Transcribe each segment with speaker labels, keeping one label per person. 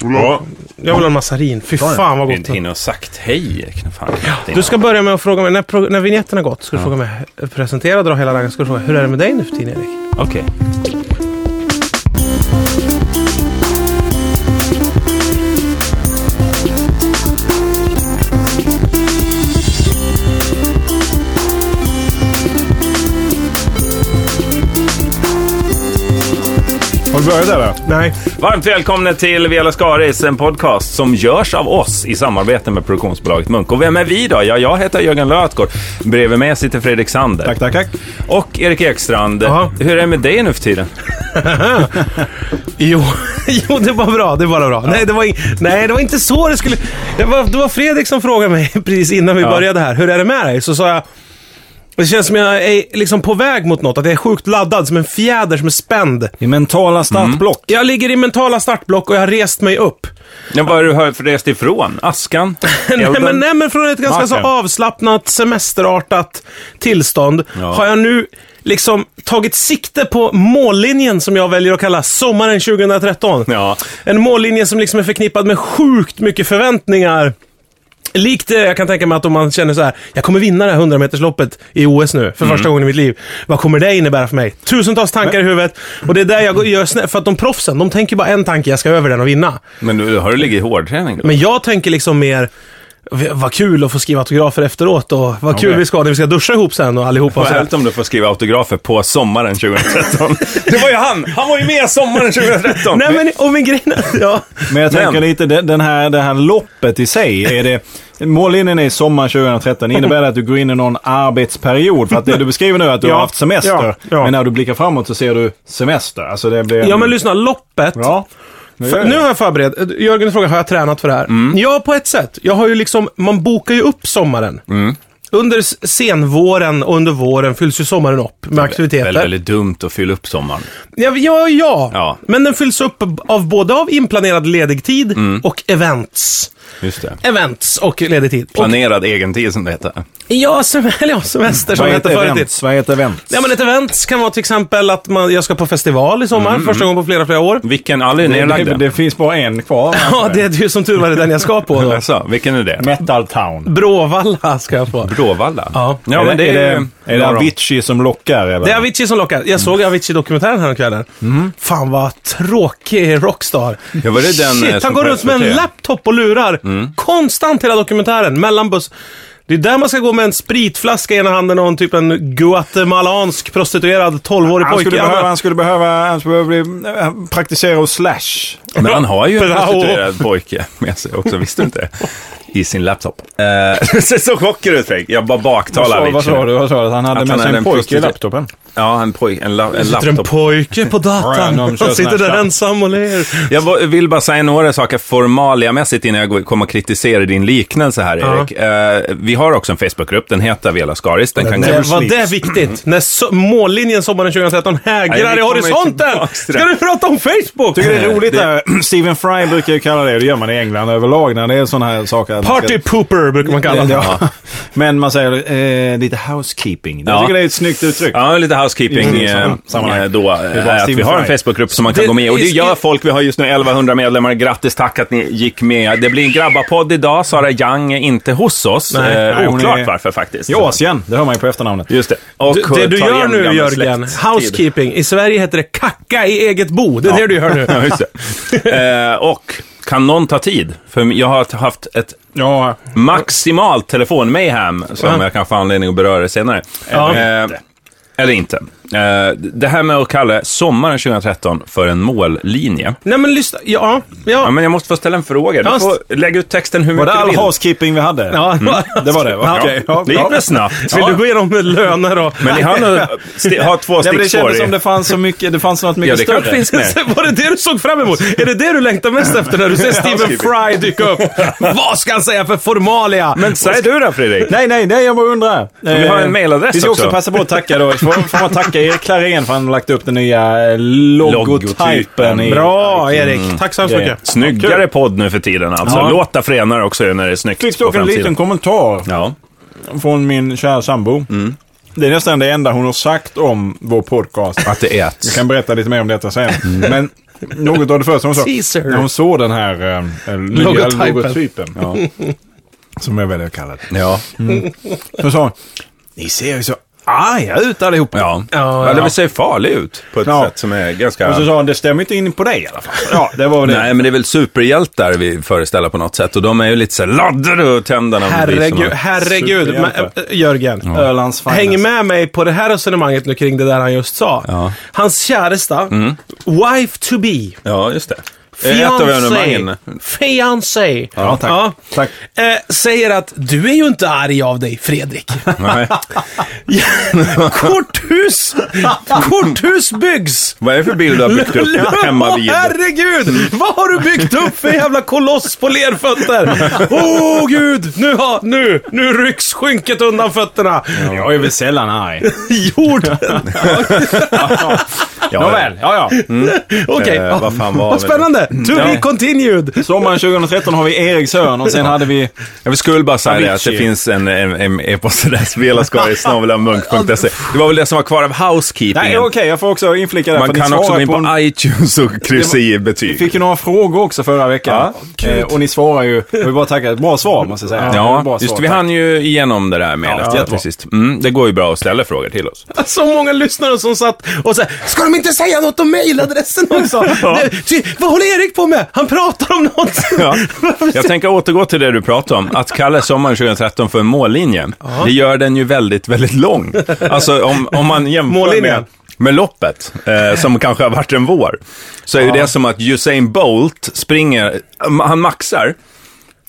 Speaker 1: Jag vill ha- jag vill ha en massarin. Fy fan vad
Speaker 2: Vi
Speaker 1: gott.
Speaker 2: inte hinner ha sagt hej. Fan,
Speaker 1: Du ska börja med att fråga mig, när, pro- när vignetten har gått, ska du fråga mig, presentera, dra hela raggen, ska du fråga, hur är det med dig nu för tiden Erik?
Speaker 2: Okej.
Speaker 3: Har du börjat där?
Speaker 1: Nej,
Speaker 2: Varmt välkomna till Vela Skaris, en podcast som görs av oss i samarbete med produktionsbolaget Munk. Och vem är vi då? Ja, jag heter Jörgen Lötgård. Bredvid mig sitter Fredrik Sander.
Speaker 3: Tack, tack, tack.
Speaker 2: Och Erik Ekstrand.
Speaker 1: Jaha.
Speaker 2: Hur är det med dig nu för tiden?
Speaker 1: jo, jo det var bra, det var bra. Nej, det var, in, nej, det var inte så det skulle... Det var, det var Fredrik som frågade mig precis innan vi
Speaker 2: Ja.
Speaker 1: började här, hur är det med dig? Så sa jag, det känns som jag är liksom på väg mot något, att jag är sjukt laddad, som en fjäder som är spänd.
Speaker 3: I mentala startblock.
Speaker 1: Jag ligger i mentala startblock och jag har rest mig upp.
Speaker 2: Mm. Ja, vad har du hört- rest ifrån? Askan?
Speaker 1: Nej
Speaker 2: Elden?
Speaker 1: men, nej, men från ett ganska så
Speaker 3: Marken.
Speaker 1: avslappnat, semesterartat tillstånd
Speaker 2: Ja.
Speaker 1: har jag nu liksom tagit sikte på mållinjen som jag väljer att kalla sommaren 2013.
Speaker 2: Ja.
Speaker 1: En mållinje som liksom är förknippad med sjukt mycket förväntningar. Likt det jag kan tänka mig att om man känner så här, jag kommer vinna det här 100-metersloppet i OS nu för
Speaker 2: Mm.
Speaker 1: första gången i mitt liv. Vad kommer det innebära för mig? Tusentals tankar i huvudet och det är där jag går- gör snett. För att de proffsen, de tänker bara en tanke, jag ska över den och vinna.
Speaker 2: Men du har du ligger i hårdträning?
Speaker 1: Men jag tänker liksom mer, v- vad kul att få skriva autografer efteråt och vad kul
Speaker 2: Okej.
Speaker 1: vi ska när vi ska duscha ihop sen och allihopa.
Speaker 2: Vad
Speaker 1: Så
Speaker 2: härligt om du får skriva autografer på sommaren 2013. det var ju han! Han var ju med sommaren 2013!
Speaker 1: Nej men, och min grej... Ja.
Speaker 3: Men jag tänker
Speaker 2: Men-
Speaker 3: lite, den den här, det här loppet i sig. Är det, mållinjen är sommar 2013. Innebär det att du går in i någon arbetsperiod? För att det du beskriver nu är att du
Speaker 1: Ja,
Speaker 3: har haft semester.
Speaker 1: ja, ja.
Speaker 3: Men när du blickar framåt så ser du semester. Alltså det blir...
Speaker 1: ja men lyssna, loppet.
Speaker 3: Ja. Nu
Speaker 1: För,
Speaker 3: gör jag
Speaker 1: nu
Speaker 3: det.
Speaker 1: har jag förberett. Jörgen frågar, har jag tränat för det här?
Speaker 2: Mm.
Speaker 1: Ja, på ett sätt. Jag har ju liksom, man bokar ju upp sommaren.
Speaker 2: Mm.
Speaker 1: Under s- senvåren och under våren fylls ju sommaren upp med aktiviteter.
Speaker 2: Väldigt, väldigt dumt att fylla upp sommaren.
Speaker 1: Ja, ja, ja.
Speaker 2: Ja.
Speaker 1: Men den fylls upp av både av inplanerad ledig tid
Speaker 2: Mm.
Speaker 1: och events.
Speaker 2: Just det.
Speaker 1: Events och ledig tid. Och
Speaker 2: Planerad egentid som det heter.
Speaker 1: Ja, sem eller ja, semester som
Speaker 3: Vad
Speaker 1: det
Speaker 3: är
Speaker 1: hette
Speaker 3: ett
Speaker 1: förut.
Speaker 3: event? Vad är ett event?
Speaker 1: Ja, men ett event kan vara till exempel att man, jag ska på festival i
Speaker 2: Mm.
Speaker 1: sommar, första gången på flera, flera år.
Speaker 2: Vilken? Alla är
Speaker 3: det, det,
Speaker 2: nedlagda.
Speaker 3: det finns bara en kvar.
Speaker 1: Ja, det är ju som tur var det den jag ska på då.
Speaker 2: Alltså, vilken är det?
Speaker 3: Metal Town.
Speaker 1: Bråvalla ska jag på.
Speaker 2: Bråvalla?
Speaker 1: Ja.
Speaker 2: ja men det
Speaker 3: är,
Speaker 2: är...
Speaker 3: det, är det Avicii som lockar? Eller?
Speaker 1: Det är Avicii som lockar. Jag såg Avicii-dokumentären häromkvällen. Fan vad tråkig rockstar.
Speaker 2: Mm. Ja, var det den,
Speaker 1: Shit,
Speaker 2: eh, som Mm.
Speaker 1: han går runt med en
Speaker 2: porträtterar?
Speaker 1: laptop och lurar. Konstant hela dokumentären, mellan buss. Det är där man ska gå med en spritflaska i ena handen och en typ en guatemalansk prostituerad 12-årig
Speaker 3: han,
Speaker 1: pojke
Speaker 3: skulle
Speaker 1: i andra.
Speaker 3: behöva, han skulle behöva, han skulle behöva bli, eh, praktisera hos Slash.
Speaker 2: Men han har ju en
Speaker 1: Bravo.
Speaker 2: prostituerad pojke med sig också, visste du inte det? I sin laptop. Eh, Du ser så chockad ut Fredrik. Jag bara
Speaker 3: Vad
Speaker 2: baktalar
Speaker 3: sa, vad sa du? Vad sa du? Att han hade
Speaker 2: Att han
Speaker 3: med sig
Speaker 2: hade
Speaker 3: en
Speaker 2: en
Speaker 3: pojke i
Speaker 2: prostituerad-
Speaker 3: laptopen?
Speaker 2: Ja, en, poj- en, la- en
Speaker 1: Sitter en
Speaker 2: laptop.
Speaker 1: pojke på
Speaker 3: Ja,
Speaker 1: datan.
Speaker 3: de kör
Speaker 1: Han sitter
Speaker 3: sån här
Speaker 1: där
Speaker 3: chatt.
Speaker 1: ensam och ler.
Speaker 2: Jag var- vill bara säga några saker formaliamässigt innan jag går- kommer att kritisera din liknelse här,
Speaker 1: Ja.
Speaker 2: Erik. Eh, vi har också en Facebookgrupp, den heter Vela Skaris. Den kan
Speaker 1: Det
Speaker 2: gå...
Speaker 1: var det viktigt? När so- mållinjen sommaren 2013
Speaker 2: Nej, vi
Speaker 1: hägrar i
Speaker 2: kommer
Speaker 1: horisonten!
Speaker 2: tillbaks
Speaker 1: Ska
Speaker 2: till det.
Speaker 1: du prata om Facebook?
Speaker 3: Tycker Eh, det är roligt där. Stephen Fry brukar ju kalla det, det gör man i England överlag när det är sådana här saker. att man ska-
Speaker 1: Party pooper brukar man kalla det.
Speaker 3: Ja. Men man säger eh, lite housekeeping. Jag
Speaker 2: Ja.
Speaker 3: tycker det är ett snyggt uttryck.
Speaker 2: Ja, lite housekeeping
Speaker 3: I
Speaker 2: eh,
Speaker 3: sam- sammanhang.
Speaker 2: eh, då. eh,
Speaker 3: Det är bara
Speaker 2: att vi
Speaker 3: Steven
Speaker 2: har en
Speaker 3: Fry.
Speaker 2: Facebookgrupp som man kan
Speaker 1: Det-
Speaker 2: gå med i. Och det
Speaker 1: i-
Speaker 2: gör folk. Vi har just nu 1100 medlemmar. Grattis, tack att ni gick med. Det blir en grabbapodd idag. Sara Young är inte hos oss.
Speaker 1: Nej,
Speaker 2: eh,
Speaker 3: nej, hon
Speaker 2: oklart
Speaker 3: är-
Speaker 2: varför faktiskt.
Speaker 3: I Asien, det hör man ju på efternamnet.
Speaker 2: Just det. Och
Speaker 1: Du, det du
Speaker 2: tar
Speaker 1: gör
Speaker 2: igen
Speaker 1: nu
Speaker 2: gammal
Speaker 1: Jörgen,
Speaker 2: släkttid.
Speaker 1: housekeeping. I Sverige heter det kacka i eget bo. Det är det du gör nu.
Speaker 2: Ja, just det. Eh, och kan någon ta tid? För jag har haft ett
Speaker 3: Ja,
Speaker 2: maximalt telefonmayhem som
Speaker 1: Ja.
Speaker 2: jag kan få anledning att beröra senare.
Speaker 1: Ja.
Speaker 2: Eh, eller inte. Eh, det här med att kalla sommaren 2013 för en mållinje.
Speaker 1: Nej men lyssna, ja.
Speaker 2: Ja,
Speaker 1: Ja,
Speaker 2: men jag måste få ställa en fråga. Du
Speaker 1: Ja,
Speaker 2: får lägga ut texten hur
Speaker 3: var det
Speaker 2: mycket du
Speaker 3: all
Speaker 2: vill.
Speaker 3: housekeeping vi hade?
Speaker 1: ja.
Speaker 3: Det var det?
Speaker 1: Ja.
Speaker 3: Okej. Ja,
Speaker 2: Det gick
Speaker 3: ja.
Speaker 2: väl snabbt?
Speaker 1: Vill
Speaker 2: Mm. Ja.
Speaker 1: du gå igenom med löner och...
Speaker 2: Men ni har, nog- sti- har två
Speaker 3: Nej, men det
Speaker 2: stickspår
Speaker 3: kändes som
Speaker 2: i.
Speaker 3: det fanns så mycket, det fanns något mycket
Speaker 2: det kanske
Speaker 3: större.
Speaker 2: finns. med.
Speaker 1: Var det det du såg fram emot? Är det det du längtar mest efter när du ser Stephen Fry dyka upp? Vad ska han säga för formalia?
Speaker 2: Men säg du då Fredrik.
Speaker 3: Nej, nej, nej, jag bara undrar.
Speaker 2: vi har en
Speaker 3: Eh,
Speaker 2: mailadress
Speaker 3: Vi ska också
Speaker 2: också.
Speaker 3: passa på att tacka då. Får, får man tacka Erik Klarén för han har lagt upp den nya eh, logotypen. i-
Speaker 1: Bra Erik, tack så hemskt
Speaker 3: Mm. Ja, ja.
Speaker 1: mycket.
Speaker 2: Eh, Snyggare podd nu för tiden alltså.
Speaker 3: Ja.
Speaker 2: Låta fränare också när det är snyggt
Speaker 3: Fick dock
Speaker 2: på
Speaker 3: en
Speaker 2: framsidan.
Speaker 3: liten kommentar
Speaker 2: Ja. Mm.
Speaker 3: från min kära sambo. Det är nästan det enda hon har sagt om vår podcast.
Speaker 2: Att Mm. det
Speaker 3: Jag
Speaker 2: äts.
Speaker 3: kan berätta lite mer om detta sen. Men Något av det första hon sa.
Speaker 1: Teaser.
Speaker 3: När hon såg den här eh, lilla
Speaker 1: Logotypen.
Speaker 3: logotypen. Ja. Som jag väljer att kalla det.
Speaker 2: Ja.
Speaker 3: Då sa hon, ni ser ju så arga ut allihopa.
Speaker 2: Ja.
Speaker 1: Ja,
Speaker 2: ja.
Speaker 1: ja.
Speaker 2: Det vill säga farlig ut på ett
Speaker 3: Ja.
Speaker 2: sätt som är ganska...
Speaker 3: Och så sa hon, det stämmer inte in på dig i alla fall. Ja, det var väl det.
Speaker 2: Nej, men det är väl superhjältar vi föreställer på något sätt. Och de är ju lite så här laddade och tända när de blir
Speaker 1: Herregud,
Speaker 2: såna.
Speaker 1: herregud. Men,
Speaker 3: Superhjälte.
Speaker 1: äh, Jörgen.
Speaker 3: Ölands finest.
Speaker 1: Häng med mig på det här resonemanget nu kring det där han just sa.
Speaker 2: Ja.
Speaker 1: Hans käresta,
Speaker 3: Mm.
Speaker 1: wife to be,
Speaker 2: Ja, just det. Det är Ett av
Speaker 1: fiancé,
Speaker 2: evenemangen.
Speaker 1: fiancé,
Speaker 3: Ja, tack. Tack.
Speaker 1: Eh, säger att du är ju inte arg av dig, Fredrik.
Speaker 2: Nej.
Speaker 1: korthus! Korthus byggs!
Speaker 2: Vad är det för bild du har byggt upp hemma vid? Mm.
Speaker 1: Åh, herregud! Vad har du byggt upp för jävla koloss på lerfötter? Åh oh, gud! Nu, har, nu, nu rycks skynket undan fötterna.
Speaker 3: Jag är väl sällan arg.
Speaker 1: Jorden!
Speaker 2: Ja, Mm.
Speaker 3: Nåväl, ja ja.
Speaker 1: Okej,
Speaker 2: Eh, vad fan var
Speaker 1: vad
Speaker 2: det?
Speaker 1: spännande! To
Speaker 2: Ja.
Speaker 1: be continued!
Speaker 3: Sommaren 2013 har vi Erikshörn och sen hade vi...
Speaker 2: Jag skulle bara säga det, att det
Speaker 3: Avicii.
Speaker 2: finns en, en, en e-post där, svelaskarisnavelamunk.se. Det var väl det som var kvar av housekeeping.
Speaker 3: Nej, okej, jag får också inflika där.
Speaker 2: Man
Speaker 3: för ni
Speaker 2: kan också gå
Speaker 3: svarar
Speaker 2: in på
Speaker 3: en-
Speaker 2: iTunes och kryssa i
Speaker 3: Vi
Speaker 2: betyg.
Speaker 3: fick ju några frågor också förra veckan.
Speaker 2: Ja.
Speaker 3: eh, och ni svarar ju, jag vill bara tacka, ett bra svar måste jag säga. Det var ett
Speaker 2: Ja,
Speaker 3: bra
Speaker 2: just
Speaker 3: svar,
Speaker 2: det, vi
Speaker 3: tack.
Speaker 2: hann ju igenom det där mejlet.
Speaker 3: Ja,
Speaker 2: Ja,
Speaker 3: jättebra.
Speaker 2: precis. Mm, det går ju bra att ställa frågor till oss.
Speaker 1: Så många lyssnare som satt och sa Ska de inte säga något om mejladressen också? Nej, ty, vad håller Erik på med? Han pratar om något.
Speaker 2: Ja. Jag tänker återgå till det du pratade om, att kalla sommaren 2013 för en mållinje. Det gör den ju väldigt, väldigt lång. Alltså om, om man jämför
Speaker 1: Mållinjen.
Speaker 2: med, med loppet, eh, som kanske har varit en vår, så är ju det som att Usain Bolt springer, eh, han maxar,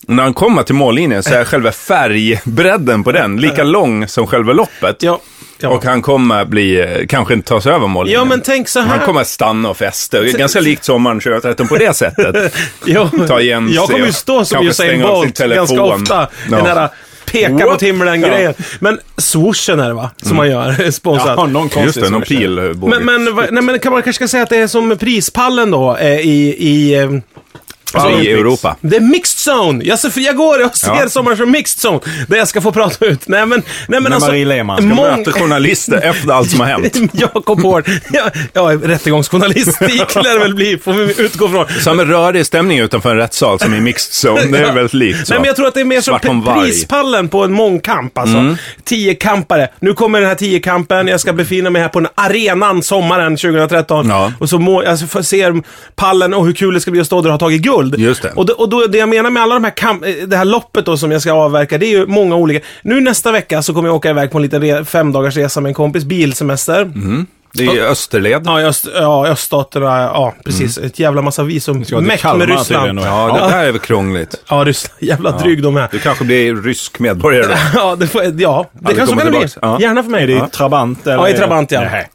Speaker 2: när han kommer till mållinjen så är själva färgbredden på den lika lång som själva loppet.
Speaker 1: Ja, ja.
Speaker 2: Och han kommer bli, eh, kanske inte ta sig över mållinjen.
Speaker 1: Ja, men tänk så här.
Speaker 2: Han kommer stanna och fästa. Det är Ganska likt sommaren 2013 på det sättet.
Speaker 1: Ja.
Speaker 2: Ta igen
Speaker 1: jag
Speaker 2: sig
Speaker 1: kommer ju
Speaker 2: och
Speaker 1: stå som
Speaker 2: kanske
Speaker 1: Usain
Speaker 2: stänga av sin
Speaker 1: Bolt
Speaker 2: telefon.
Speaker 1: ganska ofta.
Speaker 2: Ja.
Speaker 1: Den där peka på
Speaker 2: Whoop.
Speaker 1: timren-grejen. Men swooshen är det va? Som man gör sponsrat.
Speaker 3: Ja, någon konstig
Speaker 2: Just det, Mm. någon
Speaker 3: som-
Speaker 2: pil.
Speaker 1: men, men, va- nej, men kan man kanske säga att det är som prispallen då eh, i... i eh,
Speaker 2: alltså,
Speaker 1: Olympics.
Speaker 2: I Europa.
Speaker 1: Det är mixed zone! Jag ser, jag går och ser
Speaker 2: Ja.
Speaker 1: sommaren som mixed zone. Där jag ska få prata ut. Nej men, nej, men
Speaker 3: När
Speaker 1: alltså...
Speaker 3: Marie Lehmann ska
Speaker 1: mång-
Speaker 2: Möter journalister efter allt som har hänt.
Speaker 1: Jakob Hård. Ja, ja, rättegångsjournalistik lär det väl bli, får vi utgå från.
Speaker 2: Samma rörig stämning utanför en rättssal som i mixed zone. Det är väldigt likt så.
Speaker 1: Nej, men jag tror att det är mer som
Speaker 2: Svart om
Speaker 1: pri-
Speaker 2: varg.
Speaker 1: prispallen på en mångkamp. Alltså. Tiokampare. Nu kommer den här tiokampen, jag ska befinna mig här på den arenan sommaren 2013.
Speaker 2: Ja.
Speaker 1: Och så må, alltså, får- ser pallen och hur kul det ska bli att stå där och ha tagit guld.
Speaker 2: Just det.
Speaker 1: Och, det, och då, det jag menar med alla de här kamp, eh, det här loppet då som jag ska avverka, det är ju många olika. Nu nästa vecka så kommer jag åka iväg på en liten re- femdagarsresa med en kompis, bilsemester.
Speaker 2: Det är ju Österled.
Speaker 1: Ja, öst, ja, öststaterna, ja precis. Ett jävla massa visum.
Speaker 3: ska till
Speaker 1: Mäck
Speaker 3: Kalmar
Speaker 1: med
Speaker 3: tydligen
Speaker 1: Ryssland.
Speaker 3: då.
Speaker 2: Ja, det där är väl krångligt.
Speaker 1: Ja, Ryssland. Jävla dryg de är.
Speaker 2: Du kanske blir rysk medborgare då.
Speaker 1: Ja, det, får, ja, det
Speaker 2: vi
Speaker 1: kanske
Speaker 2: kommer
Speaker 1: kan bli.
Speaker 2: tillbaks. Ja.
Speaker 1: Gärna för mig.
Speaker 3: Är det
Speaker 1: Ja.
Speaker 3: i Trabant eller?
Speaker 1: Ja, i Trabant, ja.
Speaker 3: Nej.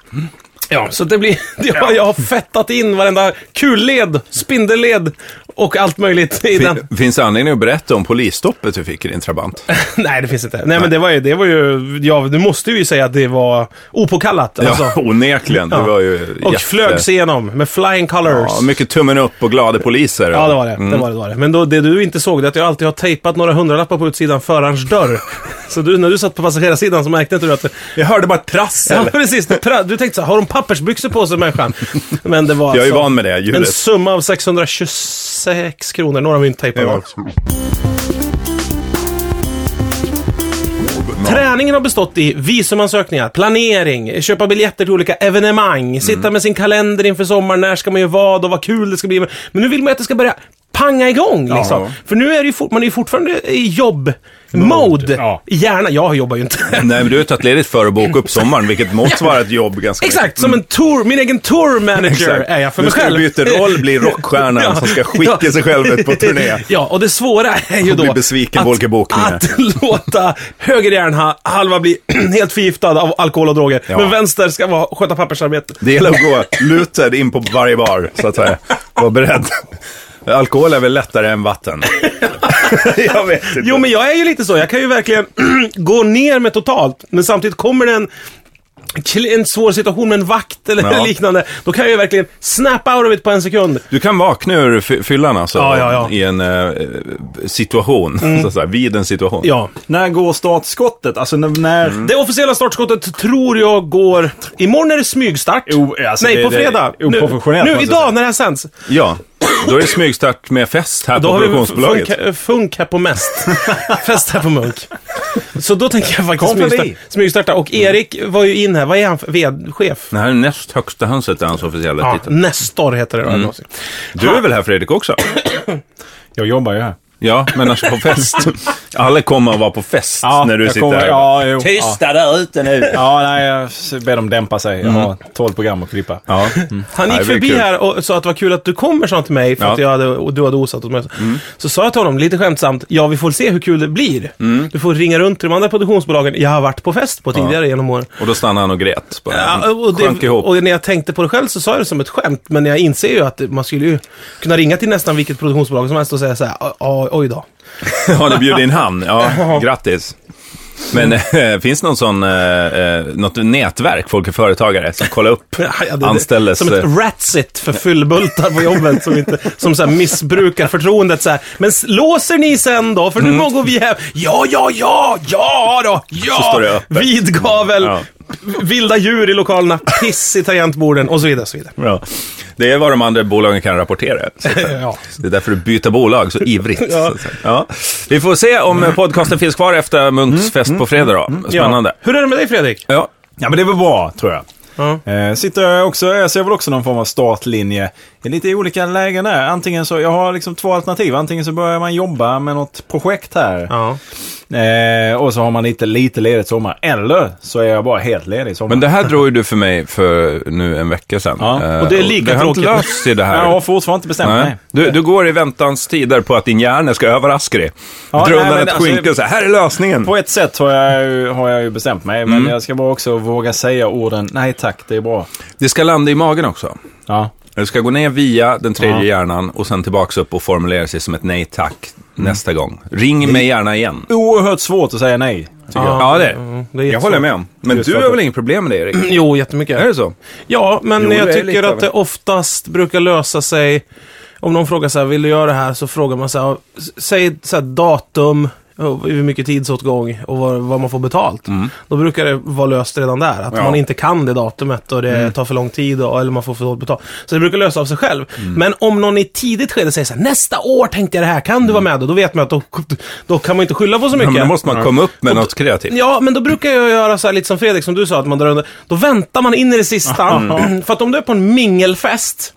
Speaker 1: Ja, så det blir... Jag, jag har fettat in varenda kulled, spindelled och allt möjligt i den.
Speaker 2: Fin, finns det anledning att berätta om polisstoppet du fick i din Trabant?
Speaker 1: Nej, det finns inte. Nej, men det var ju... Det var ju ja, nu måste vi ju säga att det var opåkallat. Alltså.
Speaker 2: Ja, onekligen. Det
Speaker 1: Ja.
Speaker 2: var ju
Speaker 1: och
Speaker 2: jätte-
Speaker 1: flögs igenom med flying colors.
Speaker 2: Ja, Mm.
Speaker 1: Ja,
Speaker 2: mycket tummen upp och glada poliser.
Speaker 1: det var det. det var det. det var det. Men då, det du inte såg, det är att jag alltid har tejpat några hundralappar på utsidan förarens dörr. så du, när du satt på passagerarsidan så märkte inte du att det,
Speaker 2: Jag hörde bara trassel.
Speaker 1: Ja, precis. Det pra- Du tänkte så här, har de pappersbyxor på sig människan? Men det var alltså
Speaker 2: Jag är ju van med det
Speaker 1: en
Speaker 2: ljudet.
Speaker 1: summa av 626 kronor. Några mynt tejpade av. Träningen har bestått i visumansökningar, planering, köpa biljetter till olika evenemang, sitta
Speaker 2: Mm.
Speaker 1: med sin kalender inför sommaren, när ska man göra vad och vad kul det ska bli. Men nu vill man ju att det ska börja panga igång liksom. För nu är det ju fort, man är ju fortfarande i jobb-mode.
Speaker 3: Ja.
Speaker 1: I hjärnan. Jag jobbar ju inte.
Speaker 2: Nej, men du har ju tagit ledigt för att boka upp sommaren, vilket motsvarar ett jobb ganska
Speaker 1: Exakt,
Speaker 2: mycket.
Speaker 1: som en tour, min egen tour manager
Speaker 2: Mm. Exakt.
Speaker 1: är jag för
Speaker 2: nu
Speaker 1: mig
Speaker 2: ska
Speaker 1: själv.
Speaker 2: du byta roll, bli rockstjärnan
Speaker 1: Ja,
Speaker 2: som ska skicka
Speaker 1: ja.
Speaker 2: sig själv ut på turné.
Speaker 1: Ja, och det svåra är ju
Speaker 2: Och
Speaker 1: då
Speaker 2: bli besviken på olika bokningar.
Speaker 1: att låta höger hjärnhalva bli helt förgiftad av alkohol och droger.
Speaker 2: Ja.
Speaker 1: Men vänster ska vara, sköta pappersarbetet.
Speaker 2: Det gäller att gå lutad in på varje bar, så att säga. Var beredd. Alkohol är väl lättare än vatten? jag vet inte.
Speaker 1: Jo, men jag är ju lite så. Jag kan ju verkligen gå ner med totalt, men samtidigt kommer det en kl- en svår situation med en vakt eller
Speaker 2: Ja.
Speaker 1: liknande, då kan jag ju verkligen snap out of it på en sekund.
Speaker 2: Du kan vakna ur fy- fyllan alltså,
Speaker 1: Ja, ja, ja.
Speaker 2: i en eh, situation, så att säga, vid en situation.
Speaker 1: Ja.
Speaker 3: När går startskottet? Alltså när... när...
Speaker 2: Mm.
Speaker 1: Det officiella startskottet tror jag går... Imorgon är det smygstart.
Speaker 3: O- alltså,
Speaker 1: Nej,
Speaker 3: det-
Speaker 1: på
Speaker 3: det-
Speaker 1: fredag. Nu-
Speaker 3: oprofessionellt,
Speaker 1: Nu,
Speaker 3: måste jag säga.
Speaker 1: idag när det här sänds.
Speaker 2: Ja. Då är det smygstart med fest här
Speaker 1: Då
Speaker 2: på
Speaker 1: har vi
Speaker 2: produktionsbolaget.
Speaker 1: funk, eh, funk här på mest. Fest här på Munk. Så då tänker jag faktiskt
Speaker 3: Kom förbi.
Speaker 1: smygstarta. smygstarta. Och
Speaker 2: Mm.
Speaker 1: Erik var ju in här. Vad är han för VD-chef?
Speaker 2: Det här är näst högsta hönset, är hans officiella
Speaker 1: Ja,
Speaker 2: titel.
Speaker 1: Nestor heter det. Mm.
Speaker 2: Du är väl här Fredrik också?
Speaker 3: Jag jobbar ju här.
Speaker 2: Ja, men alltså på fest. Alla kommer att vara på fest när du
Speaker 3: jag
Speaker 2: sitter
Speaker 3: kommer-
Speaker 2: här.
Speaker 3: Ja, jo. Ja.
Speaker 4: Tysta där ute nu.
Speaker 3: Ja, nej, jag ber dem dämpa sig. Jag har 12 program att klippa.
Speaker 2: Mm. Ja.
Speaker 1: Han
Speaker 2: Ja,
Speaker 1: gick
Speaker 2: Mm. det blir
Speaker 1: förbi
Speaker 2: kul.
Speaker 1: här och sa att det var kul att du kommer, sa han till mig, för
Speaker 2: Ja. Mm.
Speaker 1: att jag hade, och du hade osat åt mig. Så sa jag till honom, lite skämtsamt, ja vi får se hur kul det blir.
Speaker 2: Mm.
Speaker 1: Du får ringa runt till de andra produktionsbolagen jag har varit på fest på tidigare genom åren.
Speaker 2: Och då stannar han och grät. Bara.
Speaker 1: Ja, och,
Speaker 2: Sjönk
Speaker 1: det,
Speaker 2: ihop.
Speaker 1: och när jag tänkte på det själv så sa jag det som ett skämt, men jag inser ju att man skulle ju kunna ringa till nästan vilket produktionsbolag som helst och säga så här, "Ja, ja, oj då.
Speaker 2: Ja, du bjuder in han. Ja, grattis. Men eh, finns det någon sån, eh, eh, något nätverk, folk är företagare, som kollar upp
Speaker 1: Ja, ja, det-
Speaker 2: anställdes... eh.
Speaker 1: Som ett ratsit för fyllbultar på jobbet som, inte, som så här missbrukar förtroendet så här. Men s- låser ni sen då? För nu går vi hem. Ja, ja, ja, ja då, ja!
Speaker 2: Mm. Så står det öppet.
Speaker 1: Vidgavel,
Speaker 2: Ja.
Speaker 1: vilda djur i lokalerna, piss i tangentborden och så vidare. Så vidare.
Speaker 2: Ja. Det är vad de andra bolagen kan rapportera. Så att säga.
Speaker 1: Ja.
Speaker 2: Det är därför du byter bolag så ivrigt. så att säga. Ja. Vi får se om eh, podcasten finns kvar efter Munks fest på fredag då. Spännande.
Speaker 1: Ja. Hur är det med dig Fredrik?
Speaker 2: Ja.
Speaker 3: Ja, men det är väl bra, tror jag.
Speaker 1: Ja.
Speaker 3: Eh, sitter jag också, jag ser väl också någon form av startlinje. Det är lite i olika lägen där. Antingen så, jag har liksom två alternativ. Antingen så börjar man jobba med något projekt här.
Speaker 1: Ja.
Speaker 3: Eh, och så har man lite, lite ledigt sommar. Eller så är jag bara helt ledig i sommar.
Speaker 2: Men det här drog ju du för mig för nu en vecka sedan.
Speaker 3: Ja.
Speaker 2: Eh,
Speaker 1: Och det är lika
Speaker 2: det har inte
Speaker 1: tråkigt.
Speaker 2: lösts i det här.
Speaker 3: Jag har fortfarande inte bestämt
Speaker 2: Nej.
Speaker 3: mig.
Speaker 2: Du, du går i väntans tider på att din hjärna ska överraska dig.
Speaker 3: Ja,
Speaker 2: Dra
Speaker 3: nej,
Speaker 2: undan
Speaker 3: men
Speaker 2: ett
Speaker 3: alltså-
Speaker 2: skynke och så här, här är lösningen.
Speaker 3: På ett sätt har jag, ju- har jag ju bestämt mig,
Speaker 2: Mm.
Speaker 3: men jag ska bara också våga säga orden nej tack, det är bra.
Speaker 2: Det ska landa i magen också.
Speaker 3: Ja.
Speaker 2: Du ska gå ner via den tredje
Speaker 3: Ja.
Speaker 2: hjärnan och sen tillbaks upp och formulera sig som ett nej tack nästa gång. Ring mig gärna igen.
Speaker 3: Oerhört svårt att säga nej.
Speaker 2: tycker jag. Ja, det är
Speaker 1: Mm. det är Mm.
Speaker 2: det. Jag
Speaker 1: jättesvårt.
Speaker 2: håller med om. Men
Speaker 3: Just
Speaker 2: du har
Speaker 3: varför.
Speaker 2: väl inget problem med det, Erik?
Speaker 1: Jo, jättemycket.
Speaker 2: Är det så?
Speaker 1: Ja, men
Speaker 2: Jo, det
Speaker 1: jag
Speaker 2: är
Speaker 1: tycker
Speaker 2: lite av
Speaker 1: att det
Speaker 2: en-
Speaker 1: oftast brukar lösa sig. Om någon frågar så här, vill du göra det här? Så frågar man så här, s- säg så här datum, och hur mycket tidsåtgång och vad, vad man får betalt.
Speaker 2: Mm.
Speaker 1: Då brukar det vara löst redan där. Att man inte kan det datumet och
Speaker 2: Mm.
Speaker 1: det tar för lång tid och, eller man får för dåligt betalt. Så det brukar lösa av sig själv.
Speaker 2: Mm.
Speaker 1: Men om någon i ett tidigt skede säger så här, nästa år tänkte jag det här, kan du vara med då? Då vet man att då, då kan man inte skylla på så
Speaker 2: Mm. Ja,
Speaker 1: mycket.
Speaker 2: men då måste man komma upp med något kreativt.
Speaker 1: Ja, men då brukar jag göra så här lite som Fredrik, som du sa, att man drar under. Då väntar man in i det sista.
Speaker 2: Mm.
Speaker 1: För att om du är på en mingelfest,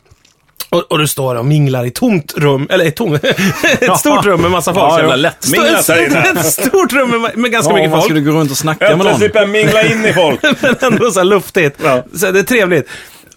Speaker 1: och, och du står och minglar i tomt rum, eller i tom, ett stort rum med massa folk.
Speaker 3: Ja,
Speaker 1: så
Speaker 2: jävla lättminglat
Speaker 1: Stå-
Speaker 2: där inne.
Speaker 1: Ett stort rum med, med ganska
Speaker 3: Ja,
Speaker 1: mycket
Speaker 3: man
Speaker 1: folk,
Speaker 3: skulle gå runt och snacka med någon.
Speaker 2: jag typ mingla in i folk.
Speaker 1: men ändå så här luftigt. Så det är trevligt.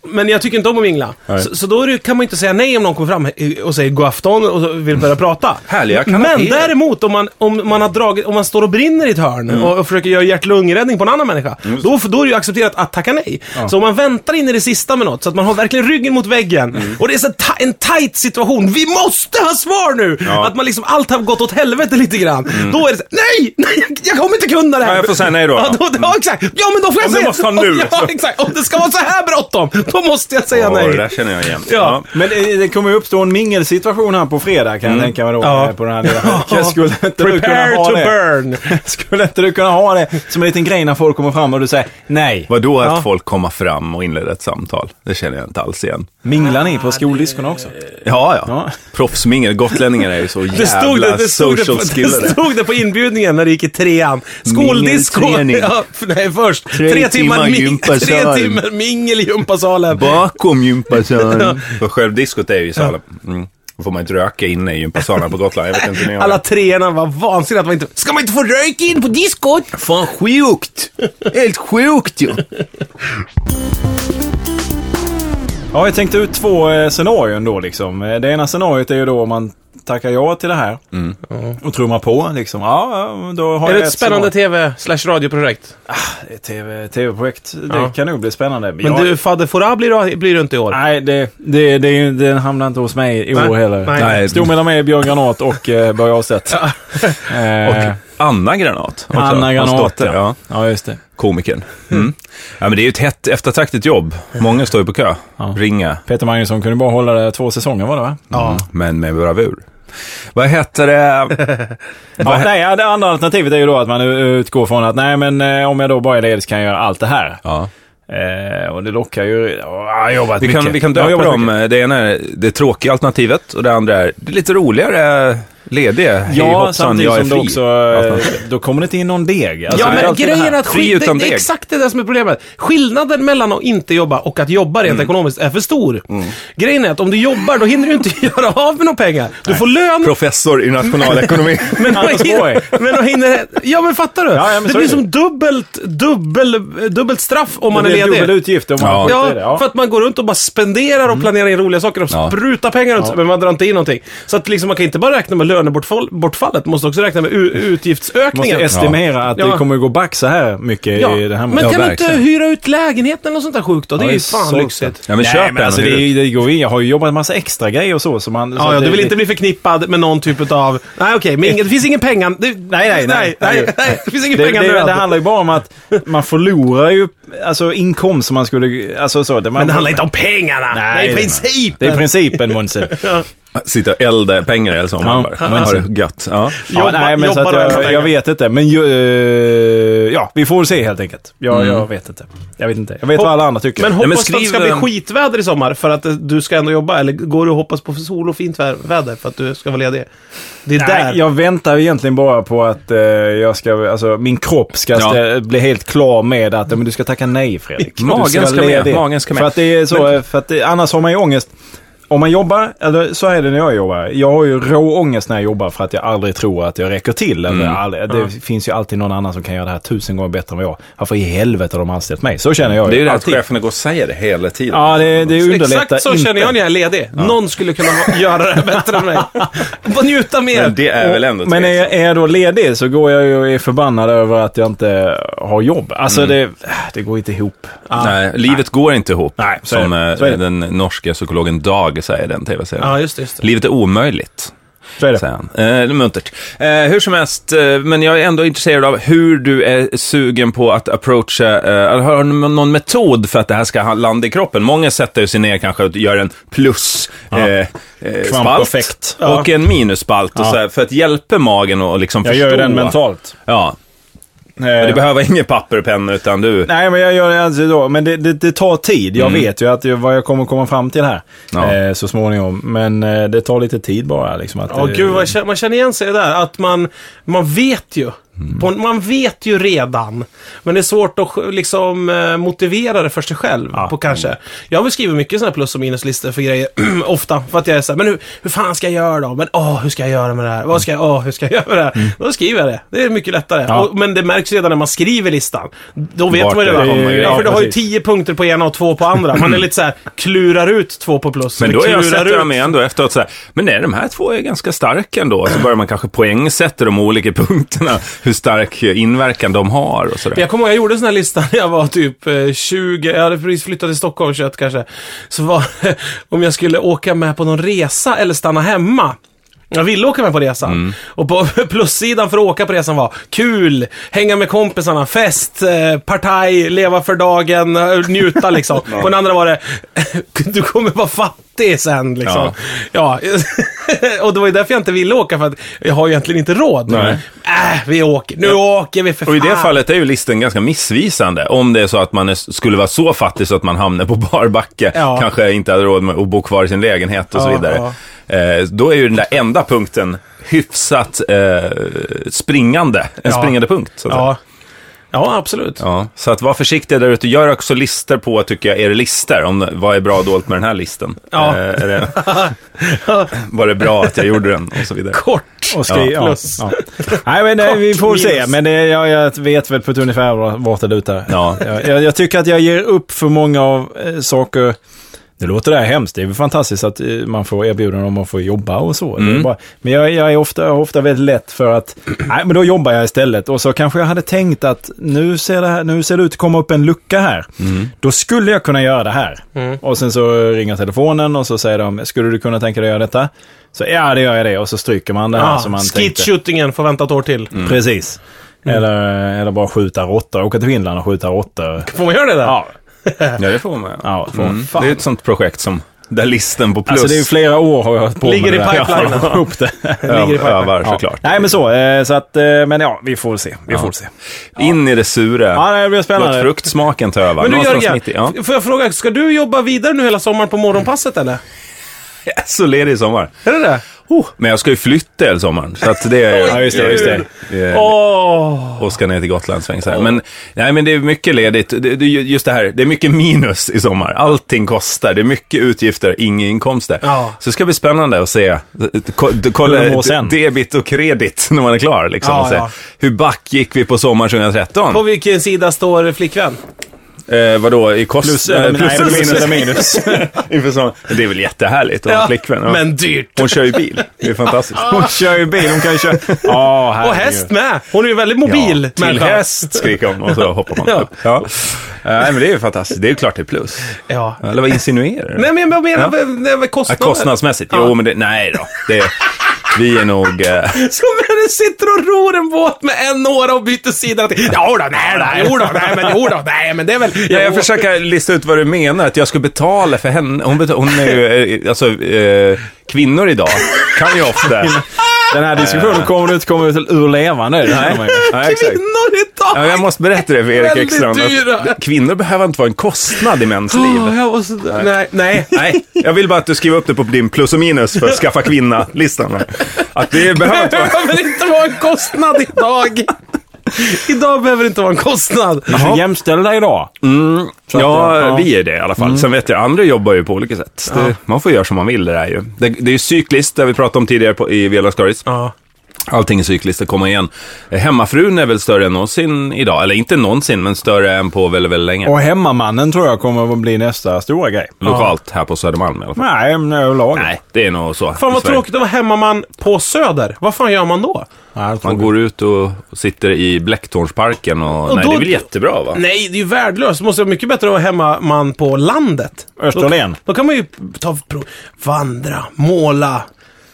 Speaker 1: Men jag tycker inte om att mingla. Så, så då är det, kan man ju inte säga nej om någon kommer fram och säger god afton och så vill börja prata.
Speaker 2: Härliga kanapéer.
Speaker 1: Men däremot om man, om, man har dragit, om man står och brinner i ett hörn och, och försöker göra hjärt-lungräddning på en annan människa. Då, då är det ju accepterat att tacka nej. Så om man väntar in i det sista med något, så att man har verkligen ryggen mot väggen. Och det är så ta- en tight situation. Vi måste ha svar nu! Att man liksom, allt har gått åt helvete lite grann. Då är det så, nej! Nej! jag- Jag kommer inte kunna det här!
Speaker 2: Ja, jag får säga nej då. Mm.
Speaker 1: Ja, då, ja exakt. Ja, men då får jag
Speaker 2: Om jag
Speaker 1: säga...
Speaker 2: måste ha nu.
Speaker 1: Ja, exakt. Om det ska vara så här bråttom, då måste jag säga
Speaker 2: det där
Speaker 1: nej.
Speaker 2: känner jag igen.
Speaker 1: Ja.
Speaker 3: Men eh, det, det kommer ju uppstå en mingelsituation här på fredag kan jag tänka mig då.
Speaker 1: Mm. Ja.
Speaker 3: eh, På den här lilla Jag skulle inte du kunna
Speaker 1: Prepare
Speaker 3: ha
Speaker 1: to
Speaker 3: det?
Speaker 1: burn.
Speaker 3: Skulle inte du kunna ha det som en liten grej när folk kommer fram och du säger nej?
Speaker 2: Vadå att folk kommer fram och inleder ett samtal? Det känner jag inte alls igen.
Speaker 3: Minglar ni på skoldiskorna också?
Speaker 2: Ja, ja.
Speaker 3: Ja.
Speaker 2: Proffsmingel. Gotlänningar är ju så jävla
Speaker 1: Det stod det, det, stod det,
Speaker 2: social
Speaker 1: det
Speaker 2: skillade.
Speaker 1: stod det på inbjudningen när det gick i trean. Skoldisco.
Speaker 2: Mingelträning.
Speaker 1: Ja, för- nej, först. Tre,
Speaker 2: Tre
Speaker 1: timmar,
Speaker 2: timmar
Speaker 1: ming-
Speaker 2: gympasalen.
Speaker 1: tre timmar mingel i gympasalen.
Speaker 2: Bakom gympasalen. För självdiskot är ju i salen. Mm. Då får man inte röka inne i gympasalen på Gotland. Jag vet inte hur ni gör.
Speaker 1: Alla treorna var vansinniga att man inte... Ska man inte få röka in på diskot?
Speaker 2: Fan sjukt! Helt sjukt ju!
Speaker 3: Ja, jag tänkte ut två eh, scenarion då liksom. Eh, Det ena scenariot är ju då om man tackar ja till det här och trummar på liksom. Ja, ja, då
Speaker 1: Mm.
Speaker 3: har
Speaker 1: Är det
Speaker 3: jag
Speaker 1: ett spännande tv slash radioprojekt?
Speaker 3: scenario. TV, TV-projekt. Det
Speaker 1: Ja.
Speaker 3: kan nog bli spännande.
Speaker 1: Men
Speaker 3: Ja,
Speaker 1: du, fadder Fouras blir, blir du inte i år.
Speaker 2: Ah,
Speaker 3: Nej, det, det, det, är ju- den hamnar inte hos mig i år
Speaker 1: Nej,
Speaker 3: heller.
Speaker 1: nej.
Speaker 2: Nej.
Speaker 3: Stod mellan mig, Björn Granat och eh, Börje Ahlstedt. eh,
Speaker 2: Anna Granat. också,
Speaker 3: Anna
Speaker 2: hans
Speaker 3: Granat,
Speaker 2: dotter, ja.
Speaker 3: Ja, just det.
Speaker 2: Komikern. Mm. Ja, men det är ju ett hett, eftertraktat jobb. Många står ju på kö.
Speaker 3: Ja.
Speaker 2: Ringa.
Speaker 3: Peter Magnusson kunde bara hålla det två säsonger var det va?
Speaker 2: Ja. Men med bravur. Vad heter det?
Speaker 3: Ja, nej, ja, det andra alternativet är ju då att man u- utgår från att nej men eh, om jag då bara är ledig så kan jag göra allt det här.
Speaker 2: Ja.
Speaker 3: Eh, och det lockar ju... Ja, jag har jobbat
Speaker 2: Vi
Speaker 3: mycket.
Speaker 2: kan, vi kan
Speaker 3: Jag har
Speaker 2: döpa
Speaker 3: jobbat
Speaker 2: dem.
Speaker 3: mycket.
Speaker 2: Det ena är det tråkiga alternativet och det andra är det lite roligare, lediga. Hej
Speaker 3: Ja,
Speaker 2: hoppsan,
Speaker 3: samtidigt
Speaker 2: jag är
Speaker 3: som det
Speaker 2: fri.
Speaker 3: också...
Speaker 2: Alternativ.
Speaker 3: eh, Då kommer det inte in någon deg. Alltså,
Speaker 1: ja,
Speaker 3: det är
Speaker 1: men
Speaker 3: alltid det
Speaker 1: grejen
Speaker 3: här.
Speaker 1: är att
Speaker 2: Fri
Speaker 1: skit, det,
Speaker 2: utan
Speaker 1: det är
Speaker 2: deg.
Speaker 1: exakt det där som är problemet. Skillnaden mellan att inte jobba och att jobba
Speaker 3: Mm.
Speaker 1: rent ekonomiskt är för stor. Grejen är att om du jobbar, då hinner du inte göra av med några pengar. Du får lön,
Speaker 2: Professor i nationalekonomi.
Speaker 1: Men de
Speaker 3: Anders
Speaker 1: hinner,
Speaker 3: Borg.
Speaker 1: men de hinner, ja men fattar du?
Speaker 3: Ja, ja, men
Speaker 1: det
Speaker 3: så är
Speaker 1: blir
Speaker 3: det.
Speaker 1: som dubbelt, dubbel, dubbelt straff om man
Speaker 3: Det
Speaker 1: är
Speaker 3: blir dubbel
Speaker 1: ledig.
Speaker 3: utgift om man
Speaker 2: Ja.
Speaker 3: skiter
Speaker 1: Ja,
Speaker 3: i det. Ja. Mm.
Speaker 1: för att man går runt och bara spenderar och planerar in roliga saker och
Speaker 2: Ja.
Speaker 1: sprutar pengar runt sig, men man drar inte in någonting. Så att liksom, man kan inte bara räkna med lönebortfallet, man måste också räkna med u-
Speaker 3: Måste
Speaker 1: utgiftsökningen.
Speaker 3: estimera att
Speaker 1: Ja.
Speaker 3: det kommer gå back så här mycket
Speaker 1: Ja.
Speaker 3: i det här
Speaker 1: Men
Speaker 3: Ja,
Speaker 1: kan du inte
Speaker 2: verkligen.
Speaker 1: hyra ut lägenheten eller något sånt där sjukt då? Det är ju
Speaker 3: så
Speaker 1: fan lyxigt.
Speaker 3: sant.
Speaker 2: Ja, men köp
Speaker 3: Nej, men
Speaker 2: en
Speaker 3: alltså,
Speaker 2: och
Speaker 3: det,
Speaker 2: hyr
Speaker 3: är- det går in. Jag har ju jobbat massa extra grejer och så. så man, så
Speaker 1: Ja, ja,
Speaker 3: det-
Speaker 1: du vill inte bli förknippad med någon typ av... Nej, okej, men ingen, det finns ingen pengar... Nej,
Speaker 3: nej,
Speaker 1: nej,
Speaker 3: nej,
Speaker 1: nej, nej. Det finns ingen
Speaker 3: Det, det, det,
Speaker 1: pengar
Speaker 3: det handlar ju bara om att man förlorar ju alltså, inkomst som man skulle... Alltså, så, det, man,
Speaker 1: Men det handlar inte om pengarna!
Speaker 3: Nej,
Speaker 1: det är
Speaker 3: det-
Speaker 1: principen!
Speaker 3: Det är principen, Monse.
Speaker 2: Sitta och elda pengar eller så. om man
Speaker 3: Ja. Alltså-
Speaker 2: bara, Har det gött. Ja.
Speaker 3: Ja,
Speaker 1: Jobba-
Speaker 3: nej, men så
Speaker 1: jobbar
Speaker 3: att
Speaker 1: och äta pengar.
Speaker 3: jag, jag vet inte. Men ju, eh, ja, vi får väl se helt enkelt. Ja, Jag vet inte. Jag vet inte. Jag vet
Speaker 1: Mm. Hopp-
Speaker 3: vad alla andra tycker.
Speaker 1: Men hoppas
Speaker 2: men
Speaker 1: på att det
Speaker 2: skriv,
Speaker 1: ska bli
Speaker 2: eh,
Speaker 1: skitväder i sommar för att eh, du ska ändå jobba. Eller går du och hoppas på sol och fint vä- väder för att du ska vara ledig? Det är där.
Speaker 3: Nej, jag väntar egentligen bara på att eh, jag ska, alltså, min kropp ska
Speaker 2: Ja.
Speaker 3: stä- bli helt klar med att eh, men du ska tacka nej Fredrik.
Speaker 2: Magen
Speaker 3: Du
Speaker 2: ska
Speaker 3: vara
Speaker 2: med,
Speaker 3: ledig.
Speaker 2: magen ska med.
Speaker 3: För att det är så, eh, för att det, annars har man ju ångest. Om man jobbar, eller så är det när jag jobbar. Jag har ju rå ångest när jag jobbar för att jag aldrig tror att jag räcker till. Eller
Speaker 2: Mm.
Speaker 3: aldrig, det finns ju alltid någon annan som kan göra det här tusen gånger bättre än vad jag. Varför i helvete har de anställt mig? Så känner jag
Speaker 2: Det är
Speaker 3: ju
Speaker 2: ju det att
Speaker 3: alltid.
Speaker 2: cheferna går och säger det hela tiden.
Speaker 3: Ja, det, det underlättar
Speaker 1: Exakt så
Speaker 3: inte.
Speaker 1: känner jag när jag är ledig. Någon skulle kunna vara- göra det här bättre än mig. Bara njuta mer.
Speaker 2: Men det är väl ändå
Speaker 3: Men är
Speaker 2: trevligt.
Speaker 3: jag, är jag då ledig så går jag ju och är förbannad över att jag inte har jobb. Alltså det, det går inte ihop.
Speaker 2: Nej, livet går inte ihop.
Speaker 3: Nej, så är
Speaker 2: som
Speaker 3: det.
Speaker 2: eh,
Speaker 3: Så är det.
Speaker 2: den norska psykologen Dag säger i den tv-serien.
Speaker 1: Ja, just det. Just det.
Speaker 2: Livet är omöjligt.
Speaker 3: Så är det.
Speaker 2: säger han. Eh, det är muntert. Eh, hur som helst, eh, men jag är ändå intresserad av hur du är sugen på att approacha, eh, eller har du någon någon metod för att det här ska ha- landa i kroppen? Många sätter sig ner kanske och gör en plus eh, eh, spalt
Speaker 3: Trump-effekt. Ja.
Speaker 2: och en minusspalt och så här, för att hjälpa magen och liksom
Speaker 3: Jag
Speaker 2: förstå.
Speaker 3: gör ju den mentalt.
Speaker 2: Ja,
Speaker 3: Eh,
Speaker 2: men du behöver inget papper och penna utan du...
Speaker 3: Nej, men jag gör det alltså då. Men det, det, det tar tid. Jag vet ju att jag, vad jag kommer komma fram till här
Speaker 2: Ja.
Speaker 3: eh, så småningom. Men eh, det tar lite tid bara. Liksom, att,
Speaker 1: Ja,
Speaker 3: eh,
Speaker 1: gud, vad jag känner- man känner igen sig i det där. Att man, man vet ju.
Speaker 2: Mm.
Speaker 1: På, man vet ju redan. Men det är svårt att sj- liksom, eh, motivera det för sig själv. På, kanske. Jag har väl skrivit mycket sådana här plus och minuslistor för grejer. ofta. För att jag är såhär, men hur, hur fan ska jag göra då? Men åh, hur ska jag göra med det här? Vad ska jag, åh, hur ska jag göra med det här?
Speaker 2: Mm.
Speaker 1: Då skriver jag det. Det är mycket lättare.
Speaker 3: Ja.
Speaker 1: Och, men det märks redan när man skriver listan. Då vet
Speaker 2: Vart
Speaker 1: man ju
Speaker 2: det
Speaker 1: redan.
Speaker 2: kommer
Speaker 1: Ja,
Speaker 3: ju.
Speaker 1: för du har ju
Speaker 3: Precis.
Speaker 1: tio punkter på ena och två på andra. Man är lite såhär, klurar ut två på plus.
Speaker 2: Men
Speaker 1: eller
Speaker 2: då är jag
Speaker 1: klurar
Speaker 2: sätter
Speaker 1: ut-
Speaker 2: jag mig ändå efteråt så här, men nej, de här två är ganska starka ändå. Så börjar man kanske poängsätta de olika punkterna, hur stark inverkan de har och
Speaker 1: Men
Speaker 2: sådär.
Speaker 1: Jag kommer ihåg, jag gjorde en sån här lista när jag var typ eh, 20, jag hade precis flyttat till Stockholm, 21 kanske. Så var det om jag skulle åka med på någon resa eller stanna hemma. Jag ville åka med på resan.
Speaker 2: Mm.
Speaker 1: Och på plussidan för att åka på resan var kul, hänga med kompisarna, fest, eh, partaj, leva för dagen, eh, njuta liksom. På den andra var det, du kommer vara fattig sen liksom. Ja. och det var ju därför jag inte ville åka för att jag har ju egentligen inte råd.
Speaker 2: Nej.
Speaker 1: Äh, vi åker, nu åker vi för
Speaker 2: Och i det
Speaker 1: fan.
Speaker 2: fallet är ju listan ganska missvisande. Om det är så att man är, skulle vara så fattig så att man hamnar på barbacke,
Speaker 1: Ja.
Speaker 2: kanske inte hade råd med att bo kvar i sin lägenhet och så
Speaker 1: Ja,
Speaker 2: vidare. Eh, då är ju den där enda punkten hyfsat eh, springande, en
Speaker 1: Ja.
Speaker 2: springande punkt. Så att säga.
Speaker 1: Ja. ja, absolut.
Speaker 2: Ja, så att var försiktig där ute. Gör också listor på, tycker jag, är det listor? Om, vad är bra och dåligt med den här listan?
Speaker 1: Ja.
Speaker 2: Eh, är det, var det bra att jag gjorde den? Och så vidare.
Speaker 1: Kort.
Speaker 3: Och skri-
Speaker 1: Ja,
Speaker 3: ja,
Speaker 1: plus.
Speaker 3: ja. Nej, men eh, vi får väl se.
Speaker 1: minus.
Speaker 3: Men det, jag, jag vet väl på ett ungefär vart det lutar.
Speaker 2: Ja.
Speaker 3: Jag, jag, jag tycker att jag ger upp för många av eh, saker det låter det här hemskt. Det är väl fantastiskt att eh, man får erbjudanden om att få jobba och så. Det är bara, men jag, jag är ofta, jag har ofta väldigt lätt för att, nej men då jobbar jag istället. Och så kanske jag hade tänkt att nu ser det, här, nu ser det ut att komma upp en lucka här. Då skulle jag kunna göra det här. Och sen så ringer telefonen och så säger de, skulle du kunna tänka dig att göra detta? Så ja, det gör jag det. Och så stryker man det
Speaker 1: Ah,
Speaker 3: här som man tänkte. Mm.
Speaker 1: Skitshootingen får vänta ett år till.
Speaker 2: Mm.
Speaker 3: Precis. Eller, eller bara skjuta råttor. Åka till Finland och skjuta råttor.
Speaker 1: Får man göra det där?
Speaker 3: Ja,
Speaker 2: Ja, det får man.
Speaker 3: ja. får-
Speaker 2: Mm. Det är ett sånt projekt som, där listen på plus
Speaker 3: Alltså det är ju flera år har jag hållit på
Speaker 1: Ligger
Speaker 3: med
Speaker 1: i
Speaker 3: det där.
Speaker 1: pipelinen.
Speaker 3: Jag får upp det.
Speaker 1: ligger i
Speaker 2: öv-
Speaker 1: pipeline.
Speaker 2: övar
Speaker 3: Ja.
Speaker 2: såklart.
Speaker 3: Nej men så, eh, så att, eh, men ja, vi får se. Vi får se.
Speaker 2: In i det sura.
Speaker 3: Ja, det blir
Speaker 2: Låt
Speaker 3: spännande.
Speaker 2: fruktsmaken ta över.
Speaker 1: Men du
Speaker 2: Någonstans
Speaker 1: Jörgen,
Speaker 2: mitt i- ja.
Speaker 1: f- får jag fråga, ska du jobba vidare nu hela sommaren på morgonpasset eller?
Speaker 2: Jag är så ledig i sommar.
Speaker 1: Är det det? Oh.
Speaker 2: Men jag ska ju flytta hela sommaren. Så att det är...
Speaker 3: Ja, just det, just det.
Speaker 2: det är-
Speaker 1: Åh.
Speaker 2: och ska ner till Gotland sväng så här. Men, nej, men det är mycket ledigt. Det, det, just det här, det är mycket minus i sommar. Allting kostar. Det är mycket utgifter, inga inkomster.
Speaker 1: Ja.
Speaker 2: Så det ska bli spännande att se. Ko-
Speaker 3: Hur det
Speaker 2: Kolla
Speaker 3: mår sen.
Speaker 2: debit och kredit när man är klar. Liksom,
Speaker 1: Ja,
Speaker 2: och se.
Speaker 1: ja.
Speaker 2: Hur back gick vi på sommaren 2013?
Speaker 1: På vilken sida står flickvän?
Speaker 2: Eh, vadå, i kost...
Speaker 3: Plus,
Speaker 2: eh,
Speaker 3: eller, plus, nej, minus eller minus.
Speaker 2: Inför sommaren. Det är väl jättehärligt att ha flickvän. Ja.
Speaker 1: Men dyrt.
Speaker 2: Hon kör ju bil. Det är fantastiskt.
Speaker 3: Hon kör ju bil, hon kan ju köra. Ja,
Speaker 1: Och
Speaker 3: herregud.
Speaker 1: häst med. Hon är ju väldigt mobil.
Speaker 2: Ja, till
Speaker 1: människa.
Speaker 2: häst skriker hon och så hoppar man
Speaker 1: Ja.
Speaker 2: upp. Ja. Eh, Nej, men det är ju fantastiskt. Det är ju klart det är plus.
Speaker 1: Ja.
Speaker 2: Eller vad insinuerar du?
Speaker 1: Nej men jag menar,
Speaker 2: Ja.
Speaker 1: ja. vad
Speaker 2: Ja,
Speaker 1: kostnader?
Speaker 2: kostnadsmässigt? Jo, men det, nej då. Det, vi är nog... Eh,
Speaker 1: Som när du sitter och ror en båt med en åra och byter sida till... Jo då, nej då, jo då, nej men jo då, nej men det är väl...
Speaker 2: ja, jag
Speaker 1: Jo.
Speaker 2: försöker lista ut vad du menar, att jag ska betala för henne. Hon, betal, hon är ju... Eh, alltså, eh, kvinnor idag kan ju ofta...
Speaker 3: Den här diskussionen kommer ut, kommer ut ur levande. Det
Speaker 2: Oh
Speaker 3: känner man ju.
Speaker 2: Nej, exakt.
Speaker 1: Kvinnor
Speaker 2: Ja,
Speaker 1: idag!
Speaker 2: jag måste berätta det för Erik
Speaker 1: Väldigt
Speaker 2: Ekstrand.
Speaker 1: dyra.
Speaker 2: att Kvinnor behöver inte vara en kostnad i mäns liv.
Speaker 1: Åh, jag var så... Nej, nej.
Speaker 2: Nej, jag vill bara att du skriver upp det på din plus och minus för att skaffa kvinna-listan. Att det behöver
Speaker 1: Det
Speaker 2: inte vara...
Speaker 1: behöver inte vara en kostnad idag. Idag behöver det inte vara en kostnad.
Speaker 3: Så jämställda idag. att
Speaker 2: Ja,
Speaker 3: jag- ja.
Speaker 2: vi är det i alla fall.
Speaker 1: Mm.
Speaker 2: Sen vet jag, andra jobbar ju på olika sätt. Det, Man får göra som man vill det där ju. Det, det är ju cykliskt, det har vi pratade om tidigare på, i Vela Stories.
Speaker 1: Ja.
Speaker 2: Allting är cykliskt, det kommer igen. Eh, Hemmafrun är väl större än någonsin idag. Eller inte någonsin, men större än på väldigt, väldigt länge.
Speaker 3: Och hemmamannen tror jag kommer att bli nästa stora grej.
Speaker 2: Lokalt här på Södermalm i alla fall.
Speaker 3: Nej, men överlag.
Speaker 2: Nej, det är nog så.
Speaker 1: Fan
Speaker 2: i
Speaker 1: vad
Speaker 2: Sverige.
Speaker 1: tråkigt att vara hemmaman på Söder. Vad fan gör man då?
Speaker 3: Nej, jag tror
Speaker 2: Man går ut och sitter i Blecktornsparken och...
Speaker 1: Och
Speaker 2: nej,
Speaker 1: då-
Speaker 2: det är väl jättebra va?
Speaker 1: Nej, det är ju värdelöst. Det måste vara mycket bättre att vara hemmaman på landet.
Speaker 3: Österlen.
Speaker 1: Då kan man ju ta prov, vandra, måla,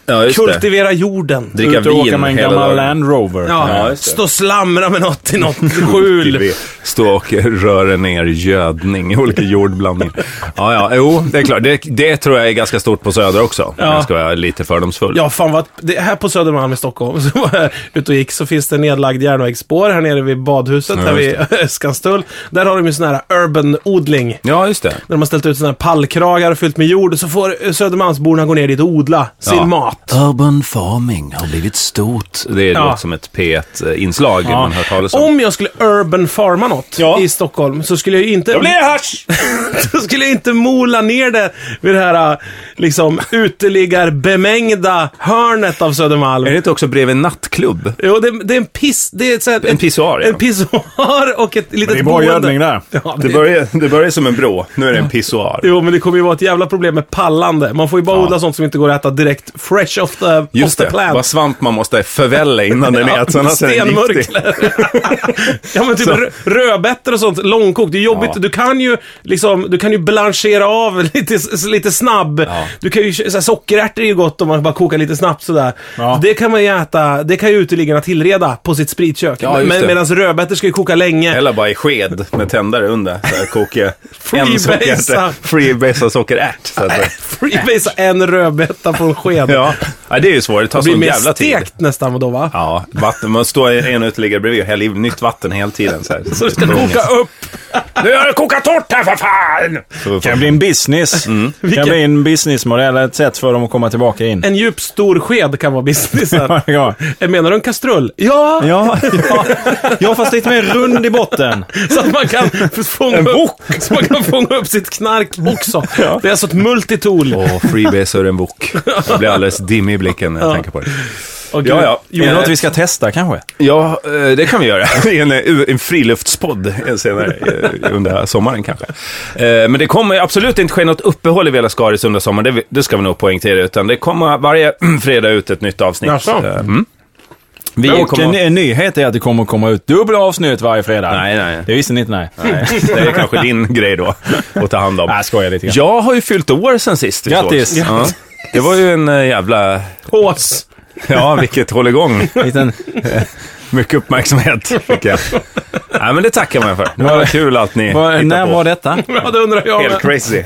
Speaker 2: Ja, just det.
Speaker 1: kultivera jorden.
Speaker 2: Dricka
Speaker 3: Ut och åka
Speaker 2: vin
Speaker 3: med en
Speaker 2: hela
Speaker 3: gammal
Speaker 2: dagen.
Speaker 3: Land Rover.
Speaker 1: Ja,
Speaker 2: Ja, just det.
Speaker 1: stå och slamra med något i något skjul.
Speaker 2: Vi Stå och röra ner gödning, olika jordblandningar. Ja, ja, jo, det är klart. Det, det tror jag är ganska stort på Söder också, om
Speaker 1: Ja.
Speaker 2: jag ska vara lite fördomsfull.
Speaker 1: Ja, fan vad... Det, här på Södermalm i Stockholm, så var jag ute och gick, så finns det nedlagd järnvägsspår här nere vid badhuset,
Speaker 2: Ja,
Speaker 1: här vid Skanstull. Där har de ju sån här urban odling.
Speaker 2: Ja, just det.
Speaker 1: Där de har ställt ut såna här pallkragar fyllt med jord, och så får eh, Södermalmsborna gå ner dit och odla sin
Speaker 2: Ja.
Speaker 1: mat.
Speaker 2: Urban farming har blivit stort. Det låter som ett P1-inslag man hör talas om.
Speaker 1: Om jag skulle urban farma något
Speaker 3: Ja.
Speaker 1: i Stockholm så skulle jag ju inte...
Speaker 2: hasch!
Speaker 1: så skulle jag inte mola ner det vid det här eh, liksom uteliggarbemängda hörnet av
Speaker 2: Är
Speaker 1: Södermalm.
Speaker 2: det inte också bredvid en nattklubb?
Speaker 1: Jo, det, det är en piss... Det är så här,
Speaker 2: En pissoar, ja.
Speaker 1: En pissoar och ett litet
Speaker 3: Det är bra gödning där.
Speaker 1: Ja, det,
Speaker 2: Det börjar, det börjar som en brå, nu är det en pissoar.
Speaker 1: Jo, men det kommer ju vara ett jävla problem med pallande. Man får ju bara
Speaker 2: Ja.
Speaker 1: odla sånt som inte går att äta direkt fresh off the, off
Speaker 2: Just
Speaker 1: the
Speaker 2: det,
Speaker 1: plant.
Speaker 2: vad svamp man måste förvälla innan den äts, annars är den giftig.
Speaker 1: Stenmurklor. ja men typ
Speaker 2: Så.
Speaker 1: rö- rödbetor och sånt, långkokt. Det är jobbigt.
Speaker 2: Ja.
Speaker 1: Du kan ju liksom, du kan ju blanchera av lite, s- lite snabb.
Speaker 2: Ja.
Speaker 1: Du kan ju, så här, sockerärtor är ju gott om man bara kokar lite snabbt sådär.
Speaker 3: Ja.
Speaker 1: Det kan man ju äta, det kan ju uteliggarna tillreda på sitt spritkök.
Speaker 2: Ja, just det.
Speaker 1: Medan rödbetor ska ju koka länge.
Speaker 2: Eller bara i sked med tändare under. Så här, koka en
Speaker 1: Freebasea.
Speaker 2: sockerärta. Freebasea sockerärt. Så att säga.
Speaker 1: Freebasea en rödbeta på en sked.
Speaker 2: ja. ja, det är ju svårt. Det tar
Speaker 1: Det blir
Speaker 2: sån
Speaker 1: mer
Speaker 2: jävla tid.
Speaker 1: stekt nästan då va?
Speaker 2: Ja, vatten. Man står en uteliggare bredvid och häller i nytt vatten hela tiden. Så, här.
Speaker 1: Så du ska koka upp.
Speaker 2: Nu har jag kokat torrt här för fan!
Speaker 3: Det kan bli en business. Det
Speaker 1: Vilken-
Speaker 3: kan bli en businessmodell, ett sätt för dem att komma tillbaka in.
Speaker 1: En djup stor sked kan vara businessen.
Speaker 3: ja,
Speaker 1: Menar du en kastrull? Ja!
Speaker 3: ja. ja, fast lite mer rund i botten.
Speaker 1: Så att man kan fånga, upp, så man kan fånga upp sitt knark också. Det är alltså ett multitool.
Speaker 2: Åh, Freebase och en bok. Jag blir alldeles dimmig i blicken när jag tänker på det.
Speaker 1: Och Och
Speaker 2: Ja, ja.
Speaker 3: Är det
Speaker 2: Eh,
Speaker 3: något vi ska testa kanske?
Speaker 2: Ja, eh, det kan vi göra. I en, eh, en friluftspodd senare eh, under sommaren kanske. Eh, Men det kommer absolut inte ske något uppehåll i Vela Skaris under sommaren, det, det ska vi nog poängtera. Utan det kommer varje fredag ut ett nytt avsnitt.
Speaker 1: Jaså?
Speaker 2: Eh, Mm. Vi
Speaker 3: Och en,
Speaker 2: kommer...
Speaker 3: en nyhet är att det kommer att komma ut dubbla avsnitt varje fredag.
Speaker 2: Nej, nej.
Speaker 3: Det visste ni inte, nej. nej.
Speaker 2: Det är kanske din grej då, att ta hand om.
Speaker 3: Jag skojar lite grann.
Speaker 2: Jag har ju fyllt år sen sist vi
Speaker 3: Äh, Grattis.
Speaker 2: sågs. Ja. Det var ju en eh, jävla...
Speaker 1: Hås!
Speaker 2: Ja, vilket hålligång.
Speaker 3: Liten,
Speaker 2: Mycket uppmärksamhet fick jag. Nej, men det tackar man för. Det var kul allt ni
Speaker 3: var,
Speaker 2: hittar
Speaker 3: när
Speaker 2: på.
Speaker 3: var detta?
Speaker 1: Ja, det undrar jag
Speaker 2: Helt
Speaker 1: med.
Speaker 2: crazy.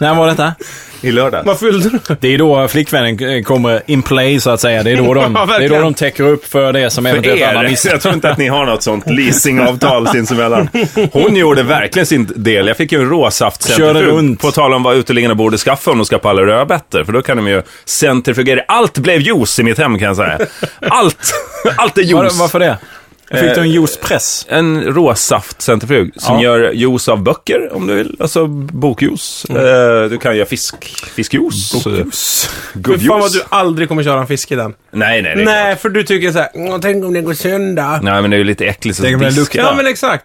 Speaker 3: När var detta?
Speaker 2: I lördag.
Speaker 1: Vad fyllde du?
Speaker 3: Det är då flickvännen eh, kommer in play så att säga. Det är då de,
Speaker 1: Ja,
Speaker 3: det är
Speaker 1: verkligen.
Speaker 3: då de täcker upp för det som
Speaker 2: För
Speaker 3: eventuellt alla
Speaker 2: er,
Speaker 3: missar.
Speaker 2: jag tror inte att ni har något sånt leasingavtal sinsemellan. Hon gjorde verkligen sin del. Jag fick ju en
Speaker 3: Körde
Speaker 2: råsaftcentrifug.
Speaker 3: runt.
Speaker 2: På tal om vad uteliggarna borde skaffa om de ska på alla rödbetor. För då kan de ju centrifugera. Allt blev juice i mitt hem kan jag säga. Allt! Allt är
Speaker 3: Var,
Speaker 2: juice. Eh,
Speaker 3: varför det? Fick du en juicepress?
Speaker 2: en råsaftcentrifug som
Speaker 3: Ja.
Speaker 2: gör juice av böcker om du vill. Alltså bokjuice.
Speaker 3: Mm.
Speaker 2: Eh, du kan göra fisk, fiskjuice. Bokjuice.
Speaker 1: Fy fan vad du aldrig kommer köra en fisk i den.
Speaker 2: Nej, nej, nej.
Speaker 1: Nej, för du tycker såhär, "Åh, tänk om det går sönder.
Speaker 2: Nej, men det är ju lite äckligt. att
Speaker 3: Tänk om den
Speaker 2: diska.
Speaker 3: luktar.
Speaker 1: Ja, men exakt.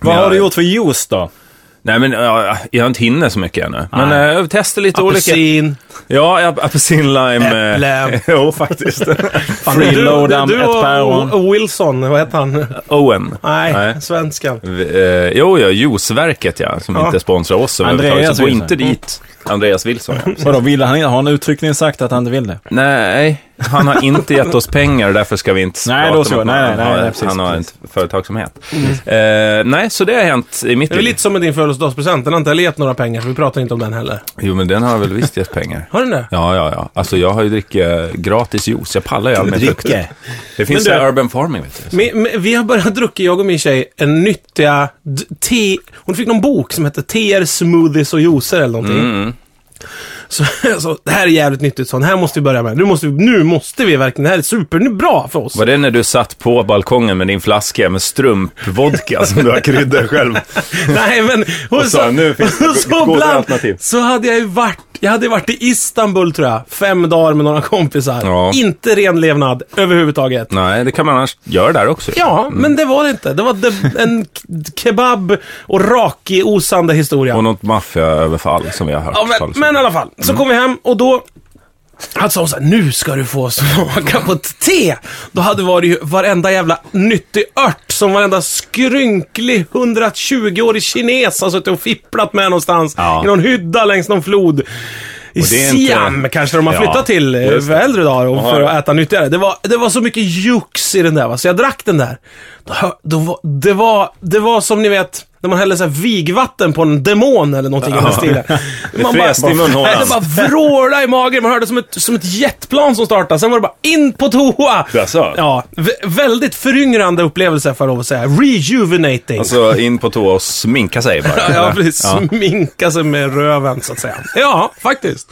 Speaker 3: Vad
Speaker 2: Ja.
Speaker 3: har du gjort för juice då?
Speaker 2: Nej, men ja, jag har inte hinner så mycket ännu. Men
Speaker 3: Nej.
Speaker 2: eh, jag testar lite olika.
Speaker 1: Apelsin.
Speaker 2: Ja, ap- apelsin, lime. eh,
Speaker 1: Äpple.
Speaker 2: jo, faktiskt.
Speaker 3: Freeloada,
Speaker 1: Du- du- du
Speaker 3: ett
Speaker 1: och
Speaker 3: päron.
Speaker 1: O- Wilson, vad heter han?
Speaker 2: Owen.
Speaker 1: Nej, svenskan.
Speaker 2: V- eh, jo, ja, juiceverket ja, som
Speaker 1: Ja.
Speaker 2: inte sponsrar oss
Speaker 3: Andreas
Speaker 2: överhuvudtaget. Så gå
Speaker 3: Wilson. Mm.
Speaker 2: inte dit. Andreas Wilson. ja.
Speaker 3: Vadå, ville han inte? Har han uttryckligen sagt att han inte vill det?
Speaker 2: Nej, han har inte gett oss pengar därför ska vi inte
Speaker 3: Nej,
Speaker 2: prata
Speaker 3: då så.
Speaker 2: om att
Speaker 3: Nej, nej,
Speaker 2: han,
Speaker 3: nej,
Speaker 2: har-
Speaker 3: nej, precis,
Speaker 2: han har
Speaker 3: precis. Mm.
Speaker 2: en företagsamhet. Eh, nej, så det har hänt i mitt
Speaker 1: Det är väl
Speaker 2: liv.
Speaker 1: lite som med din födelsedagspresent. Den har inte heller gett några pengar, så vi pratar inte om den heller.
Speaker 2: Jo, men den har väl visst gett pengar.
Speaker 1: Har den det?
Speaker 2: Ja, ja, ja. Alltså jag har ju druckit eh, gratis juice. Jag pallar ju aldrig med frukt.
Speaker 3: Dricke.
Speaker 2: Det finns
Speaker 1: Men du-
Speaker 2: där urban farming, vet du.
Speaker 1: Men, men, vi har börjat dricka, jag och min tjej, en nyttiga d- te... Hon fick någon bok som hette Teer, smoothies och juicer eller någonting. Så, så det här är jävligt nyttigt, sånt. här måste vi börja med. Nu måste vi, nu måste vi verkligen, det här är superbra för oss.
Speaker 2: Var det när du satt på balkongen med din flaska med strumpvodka som du har kryddat själv?
Speaker 1: Nej men, och
Speaker 2: sa, "Nu finns det
Speaker 1: så,
Speaker 2: goda
Speaker 1: bland,
Speaker 2: alternativ."
Speaker 1: så hade jag ju varit, jag hade varit i Istanbul tror jag, fem dagar med några kompisar.
Speaker 2: Ja.
Speaker 1: Inte ren levnad överhuvudtaget.
Speaker 2: Nej, Mm. det kan man annars göra där också.
Speaker 1: Ja, men det var det inte. Det var de, en k- kebab och raki-osande historia.
Speaker 2: Och något maffiaöverfall som vi har hört
Speaker 1: Ja, men,
Speaker 2: talas om. Mm.
Speaker 1: men i alla fall, så kom vi hem och då han sa såhär, nu ska du få smaka på ett te. Då hade varit ju varenda jävla nyttig ört som varenda skrynklig 120-årig kines har suttit och fipplat med någonstans.
Speaker 2: Ja.
Speaker 1: I någon hydda längs någon flod. I
Speaker 2: det är inte-
Speaker 1: Siam kanske de har
Speaker 2: Ja,
Speaker 1: flyttat till eh,
Speaker 2: just
Speaker 1: för äldre dagar och
Speaker 2: Aha.
Speaker 1: för att äta nyttigare. Det var, det var så mycket jox i den där va, så jag drack den där. Då, hör- då, var- det, var, det var som ni vet, när man häller så här vigvatten på en demon eller någonting i den stilen. Man bara-
Speaker 2: fräste i munhålan.
Speaker 1: Nej, Det bara vråla i magen. Man hörde som ett, som ett jetplan som startade. Sen var det bara in på toa.
Speaker 2: Jaså?
Speaker 1: Ja, vä- väldigt föryngrande upplevelse får jag lov att säga. Rejuvenating.
Speaker 2: Alltså in på toa och sminka sig bara.
Speaker 1: ja, precis. Sminka sig med röven så att säga. Ja, faktiskt.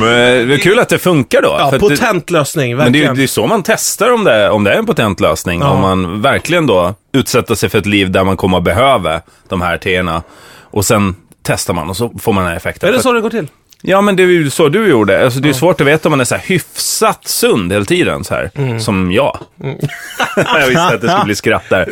Speaker 2: Men det är kul att det funkar då.
Speaker 1: Ja,
Speaker 2: för att det,
Speaker 1: potent lösning,
Speaker 2: men det är ju
Speaker 1: verkligen.
Speaker 2: det är ju så man testar om det, om det är en potent lösning.
Speaker 1: Ja.
Speaker 2: Om man verkligen då utsätter sig för ett liv där man kommer att behöva de här teerna. Och sen testar man och så får man den här effekten.
Speaker 1: Är det
Speaker 2: För-
Speaker 1: så det går till?
Speaker 2: Ja, men det är ju så du gjorde. Alltså, det är ju svårt att veta om man är så här hyfsat sund hela tiden, så här.
Speaker 1: Mm.
Speaker 2: Som jag. jag visste att det skulle bli skratt där.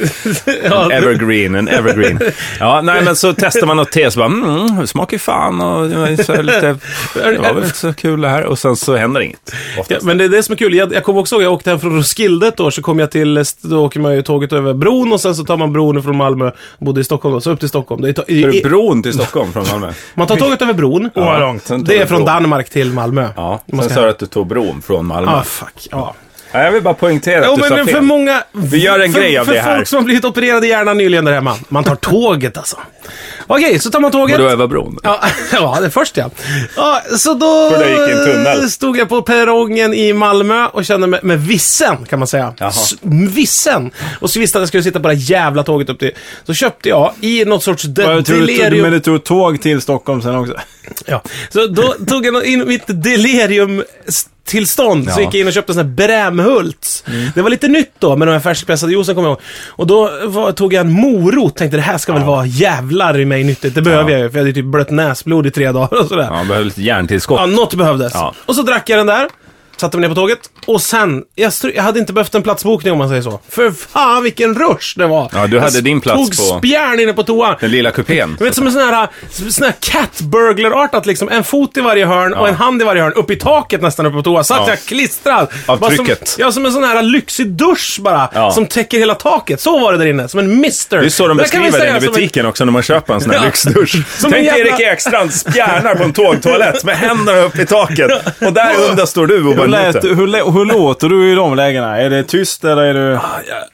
Speaker 2: En evergreen, en evergreen. Ja, nej, men så testar man något te, så bara, mm, det smakar ju fan och det var ju så här lite, det var väl inte så kul det här. Och sen så händer inget.
Speaker 1: Ja,
Speaker 2: Oftast.
Speaker 1: men det är det som är kul. Jag, jag kommer också ihåg, jag åkte hem från Roskilde ett år, så kom jag till, då åker man ju tåget över bron och sen så tar man bron från Malmö, bodde i Stockholm då, så upp till Stockholm. Det är, to- i,
Speaker 2: Är
Speaker 1: i,
Speaker 2: det bron till Stockholm från Malmö?
Speaker 1: man tar tåget över bron.
Speaker 2: vad långt. Sen tar
Speaker 1: Det är
Speaker 2: du
Speaker 1: från
Speaker 2: bron.
Speaker 1: Danmark till Malmö.
Speaker 2: Ja,
Speaker 1: Man
Speaker 2: sen
Speaker 1: ska-
Speaker 2: sa du att du tog bron från Malmö.
Speaker 1: Ah, fuck. Ja.
Speaker 2: Nej, jag vill bara poängtera
Speaker 1: Jo,
Speaker 2: att du
Speaker 1: men,
Speaker 2: sa
Speaker 1: men
Speaker 2: fel.
Speaker 1: för många...
Speaker 2: Vi gör en
Speaker 1: för,
Speaker 2: grej av
Speaker 1: för
Speaker 2: det här.
Speaker 1: För folk som har blivit opererade i hjärnan nyligen där hemma. Man tar tåget alltså. Okej, så tar man tåget.
Speaker 2: Vadå, över bron?
Speaker 1: Ja, ja, det först ja. ja så då
Speaker 2: För det gick en tunnel.
Speaker 1: stod jag på perrongen i Malmö och kände mig med vissen, kan man säga. S- Vissen! Och så visste jag att jag skulle sitta på det här jävla tåget upp till... Så köpte jag i något sorts de-
Speaker 3: Jag tror du-
Speaker 1: delirium...
Speaker 3: Men du tog tåg till Stockholm sen också.
Speaker 1: Ja. Så då tog jag in mitt delirium-tillstånd. Så
Speaker 2: Ja. Mm.
Speaker 1: gick jag in och köpte sån här Brämhults. Det var lite nytt då med de här färskpressade juicen kommer jag ihåg. Och då var, tog jag en morot. Tänkte det här ska väl vara jävlar i mig nyttigt. Det behöver
Speaker 2: Ja.
Speaker 1: jag ju. För jag hade ju typ blött näsblod i tre dagar och sådär.
Speaker 2: Ja, man behöver lite järntillskott.
Speaker 1: Ja, något behövdes.
Speaker 2: Ja.
Speaker 1: Och så drack jag den där. Satte mig ner på tåget. Och sen, jag, str- jag hade inte behövt en platsbokning om man säger så. För fan vilken rush det var.
Speaker 2: Ja, du hade
Speaker 1: jag
Speaker 2: din plats
Speaker 1: tog
Speaker 2: på-
Speaker 1: spjärn inne på toan.
Speaker 2: Den lilla kupén.
Speaker 1: Du vet som en sån här, sån här cat burglar-artat liksom. En fot i varje hörn och en hand i varje hörn. Upp i taket nästan uppe på toa. Satt
Speaker 2: Ja.
Speaker 1: jag klistrad.
Speaker 2: Av
Speaker 1: Bara
Speaker 2: trycket.
Speaker 1: Som, ja, som en sån här lyxig dusch bara.
Speaker 2: Ja.
Speaker 1: Som täcker hela taket. Så var det där inne. Som en mister.
Speaker 2: Det är så de
Speaker 1: Där kan vi
Speaker 2: beskriver
Speaker 1: säga
Speaker 2: den i
Speaker 1: som en-
Speaker 2: butiken också när man köper en sån här
Speaker 1: Ja.
Speaker 2: lyxdusch.
Speaker 1: Som en
Speaker 2: Tänk dig
Speaker 1: jävla-
Speaker 2: Erik Ekstrand spjärnar på en tågtoalett med händerna upp i taket. Och där under står du och bara
Speaker 3: Hur, lät,
Speaker 2: njuter.
Speaker 3: hur, lä- hur låter du i de lägena? Är det tyst eller är du...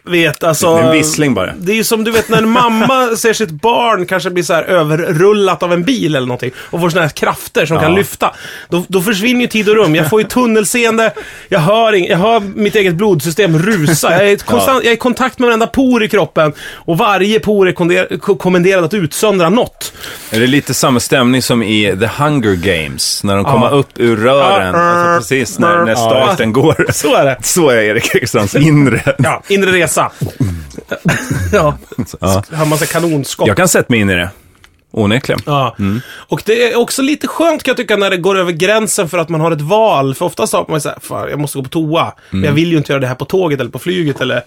Speaker 1: Jag vet, alltså...
Speaker 2: Det är en vissling bara.
Speaker 1: Det är ju som du vet när en mamma ser sitt barn kanske bli så här överrullat av en bil eller någonting och får såna här krafter som kan lyfta. Då, då försvinner ju tid och rum. Jag får ju tunnelseende, jag hör, ing, jag hör mitt eget blodsystem rusa. Jag är, ett konstant, jag är i kontakt med varenda por i kroppen och varje por är konder- ko- kommenderad att utsöndra något.
Speaker 2: Är det lite samma stämning som i The Hunger Games? När de kommer
Speaker 1: Ja.
Speaker 2: upp ur rören.
Speaker 1: Ja.
Speaker 2: Alltså precis när, när starten går.
Speaker 1: Så är det.
Speaker 2: Så är Erik Ekstrands inre.
Speaker 1: Ja, inre resa. ja,
Speaker 2: Ja.
Speaker 1: har massa kanonskott.
Speaker 2: Jag kan sätta mig in i det. Onekligen.
Speaker 1: Ja. Och det är också lite skönt kan jag tycka när det går över gränsen för att man har ett val. För oftast har man såhär, fan jag måste gå på toa. Men jag vill ju inte göra det här på tåget eller på flyget eller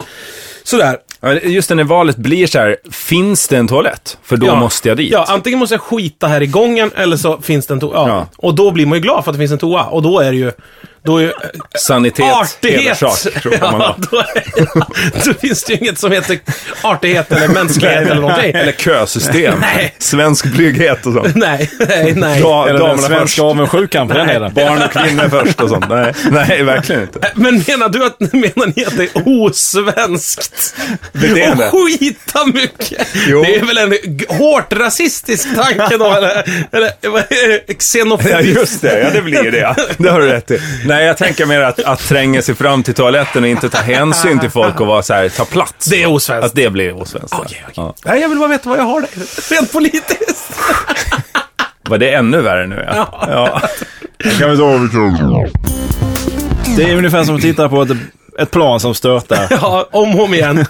Speaker 1: sådär.
Speaker 2: Ja, Just när valet blir så här, finns det en toalett? För då
Speaker 1: ja.
Speaker 2: måste jag dit.
Speaker 1: Ja, antingen måste jag skita här i gången eller så finns det en toa. Ja.
Speaker 2: Ja.
Speaker 1: Och då blir man ju glad för att det finns en toa. Och då är det ju... Då är ju
Speaker 2: Sanitet,
Speaker 1: Artighet!
Speaker 2: hederssak, tror jag man
Speaker 1: Ja,
Speaker 2: har.
Speaker 1: då, är, då finns det ju inget som heter artighet eller mänsklighet eller någonting.
Speaker 2: Eller kösystem.
Speaker 1: Nej.
Speaker 2: Svensk brygghet och sånt.
Speaker 1: Nej, nej, nej.
Speaker 2: Ja,
Speaker 3: Eller den
Speaker 2: damerna först.
Speaker 3: svenska avundsjukan på den delen?
Speaker 2: Barn och kvinnor först och sånt. Nej, nej verkligen inte.
Speaker 1: Eh, Men menar du att, menar ni att det är osvenskt?
Speaker 2: Beteende.
Speaker 1: Och skita mycket?
Speaker 2: Jo.
Speaker 1: Det är väl en g- hårt rasistisk tanke då, eller? Eller vad är det? Xenofobiskt?
Speaker 2: Ja, just det. Ja, det blir ju det. ja. Det har du rätt i. Nej, jag tänker mer att, att tränga sig fram till toaletten och inte ta hänsyn till folk och vara så här, ta plats.
Speaker 1: Det är osvenskt.
Speaker 2: Att det blir osvenskt. ja.
Speaker 1: Okej, okej.
Speaker 2: Ja.
Speaker 1: Nej, jag vill bara veta vad jag har där. Rent politiskt.
Speaker 2: Var det ännu värre nu? Ja. ja.
Speaker 3: Kan vi ta det är ungefär som att titta på ett, ett plan som störtar.
Speaker 1: Ja, om och om igen.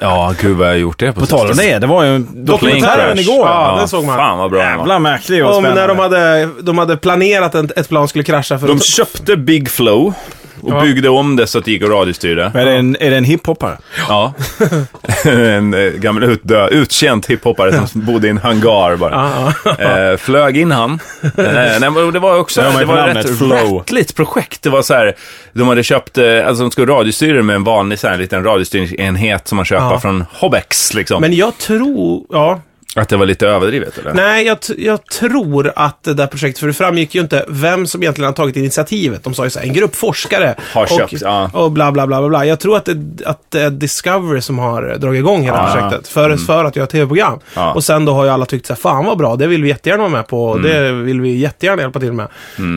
Speaker 2: Ja, gud vad jag har gjort det på
Speaker 3: På tal om det, det var ju en dokumentären
Speaker 2: Plane
Speaker 3: igår.
Speaker 2: crash.
Speaker 1: Ja, den såg man.
Speaker 2: Fan vad bra den var.
Speaker 3: Jävla märklig och
Speaker 1: Om
Speaker 3: spännande.
Speaker 1: när de hade, de hade planerat att ett plan skulle krascha för
Speaker 2: De köpte Big Flow och
Speaker 1: Ja.
Speaker 2: byggde om det så att det gick att radiostyra.
Speaker 3: är, det en, är det en hiphoppare?
Speaker 2: Ja. en eh, gammal utdö, utkänt hiphoppare som bodde i en hangar bara. eh, flög in han. Eh, nej, men det var också
Speaker 3: Ja, men
Speaker 2: det var
Speaker 3: namnet
Speaker 2: rätt
Speaker 3: Flow.
Speaker 2: rattligt projekt. Det var så här, de hade köpt, eh, alltså de skulle radiostyra med en vanlig så här, liten radiostyrningsenhet som man köper
Speaker 1: Ja.
Speaker 2: från Hobex liksom.
Speaker 1: Men jag tror, ja.
Speaker 2: Att det var lite överdrivet eller?
Speaker 1: Nej, jag, t- jag tror att det där projektet, för det framgick ju inte vem som egentligen har tagit initiativet. De sa ju så här, en grupp forskare.
Speaker 2: Har
Speaker 1: och,
Speaker 2: köpt, ja.
Speaker 1: Och bla, bla, bla, bla, bla. Jag tror att det, att det är Discovery som har dragit igång hela
Speaker 2: Ja. Mm.
Speaker 1: projektet. För, för att göra tv-program.
Speaker 2: Ja.
Speaker 1: Och sen då har ju alla tyckt så här, fan vad bra, det vill vi jättegärna vara med på. Och det
Speaker 2: Mm.
Speaker 1: vill vi jättegärna hjälpa till med.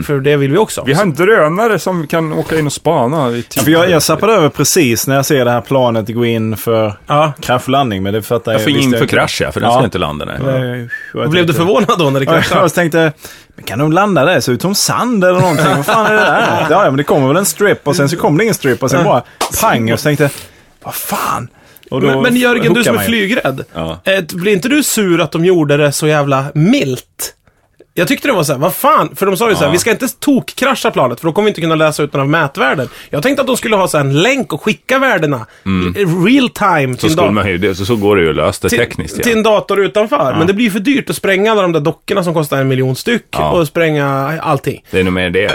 Speaker 1: För det vill vi också.
Speaker 2: en drönare som kan åka in och spana. I
Speaker 3: Ja, för jag, jag zappade över precis när jag ser det här planet gå in för
Speaker 1: Ja.
Speaker 3: kraschlandning, men det fattar
Speaker 2: Jag får
Speaker 3: visste
Speaker 2: in för
Speaker 3: inte.
Speaker 2: krasch ja, för den
Speaker 3: Ja.
Speaker 2: ska inte landa. Nej.
Speaker 3: Eh, jag
Speaker 1: Och blev du
Speaker 3: tänkte-
Speaker 1: förvånad då när det
Speaker 3: Ja,
Speaker 1: kraschade?
Speaker 3: Jag tänkte, men kan de landa där? Det ser ut som sand eller någonting. Vad fan är det där? Ja, ja, men det kommer väl en strip och sen så kom det ingen strip och sen bara pang och så tänkte jag, vad fan? Och då
Speaker 1: Men, men Jörgen, du
Speaker 3: hookar
Speaker 1: som är
Speaker 3: man ju.
Speaker 1: flygrädd.
Speaker 2: Ja.
Speaker 1: eh, Blir inte du sur att de gjorde det så jävla milt? Jag tyckte det var såhär, vad fan? För de sa ju såhär, vi ska inte tokkkrascha planet för då kommer vi inte kunna läsa ut några mätvärden. Jag tänkte att de skulle ha så här en länk och skicka värdena i- i real time
Speaker 2: Mm. Så,
Speaker 1: till en,
Speaker 2: skulle
Speaker 1: dat-
Speaker 2: man ju, det- så, så går det ju att lösa det
Speaker 1: till,
Speaker 2: tekniskt.
Speaker 1: till en dator utanför. Men det blir ju för dyrt att spränga alla de där dockorna som kostar en miljon styck
Speaker 2: Ja.
Speaker 1: och spränga allting.
Speaker 2: Det är nog mer det.
Speaker 1: Eh,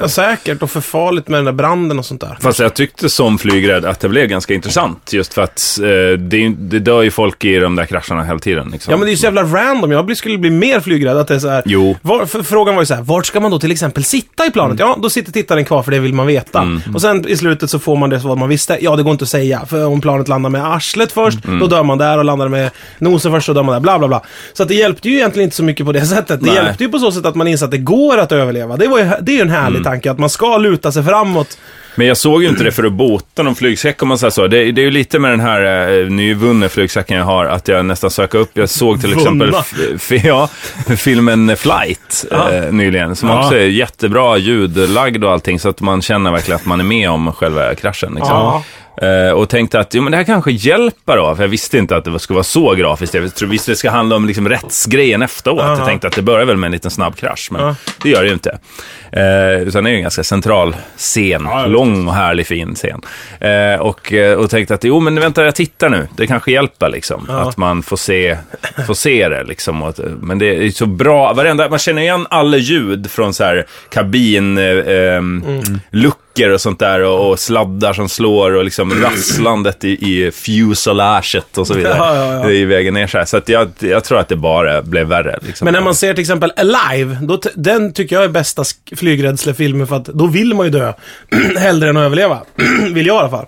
Speaker 1: Ja, säkert och för farligt med den där branden och sånt där.
Speaker 2: Fast jag tyckte som flygrädd att det blev ganska intressant. Just för att eh, det, är ju- det dör ju folk i de där krascharna hela tiden. Liksom.
Speaker 1: Ja men det är ju så jävla random. Jag blir- skulle bli mer flygrädd att det är så här.
Speaker 2: Jo. Mm.
Speaker 1: Var, för, frågan var ju så här, vart ska man då till exempel sitta i planet? Ja, då sitter tittaren kvar för det vill man veta. Och sen i slutet så får man det svar man visste. Ja, det går inte att säga. För om planet landar med arslet först,
Speaker 2: Mm.
Speaker 1: då dör man där. Och landar med nosen först, så dör man där. Bla, bla, bla. Så att det hjälpte ju egentligen inte så mycket på det sättet. Det
Speaker 2: Nej. Mm.
Speaker 1: hjälpte ju på så sätt att man insåg att det går att överleva. Det, var ju, det är ju en härlig tanke, att man ska luta sig framåt.
Speaker 2: Men jag såg ju inte det för att bota någon flygsäck om man säger så. Det, det är ju lite med den här eh, nyvunna flygsäcken jag har, att jag nästan söker upp. Jag såg till exempel
Speaker 1: Vunna.
Speaker 2: f- f- ja, filmen Flight eh, nyligen, som också är jättebra ljudlagd och allting, så att man känner verkligen att man är med om själva kraschen. Liksom. Eh, och tänkte att jo, men det här kanske hjälper då, för jag visste inte att det skulle vara så grafiskt. Jag tror, visst, det ska handla om liksom, rättsgrejen efteråt. Jag tänkte att det börjar väl med en liten snabb krasch, men det gör det ju inte. Eh, utan det är ju en ganska central scen, lång och härlig fin scen. Eh, och, eh, och tänkte att jo, men vänta, jag tittar nu. Det kanske hjälper liksom, att man får se, får se det. Liksom, och, att- men det är så bra, varenda, man känner igen alla ljud från så här kabin... Eh, ehm, luckor och sånt där och, och sladdar som slår och liksom rasslandet i, i fuselaget och så vidare.
Speaker 1: Ja, ja, ja.
Speaker 2: I vägen ner så här. Så att jag, jag tror att det bara blev värre. Liksom.
Speaker 1: Men när man ser till exempel Alive, då t- den tycker jag är bästa sk- flygrädslefilmen för att då vill man ju dö. Hellre än att överleva. vill jag i alla fall.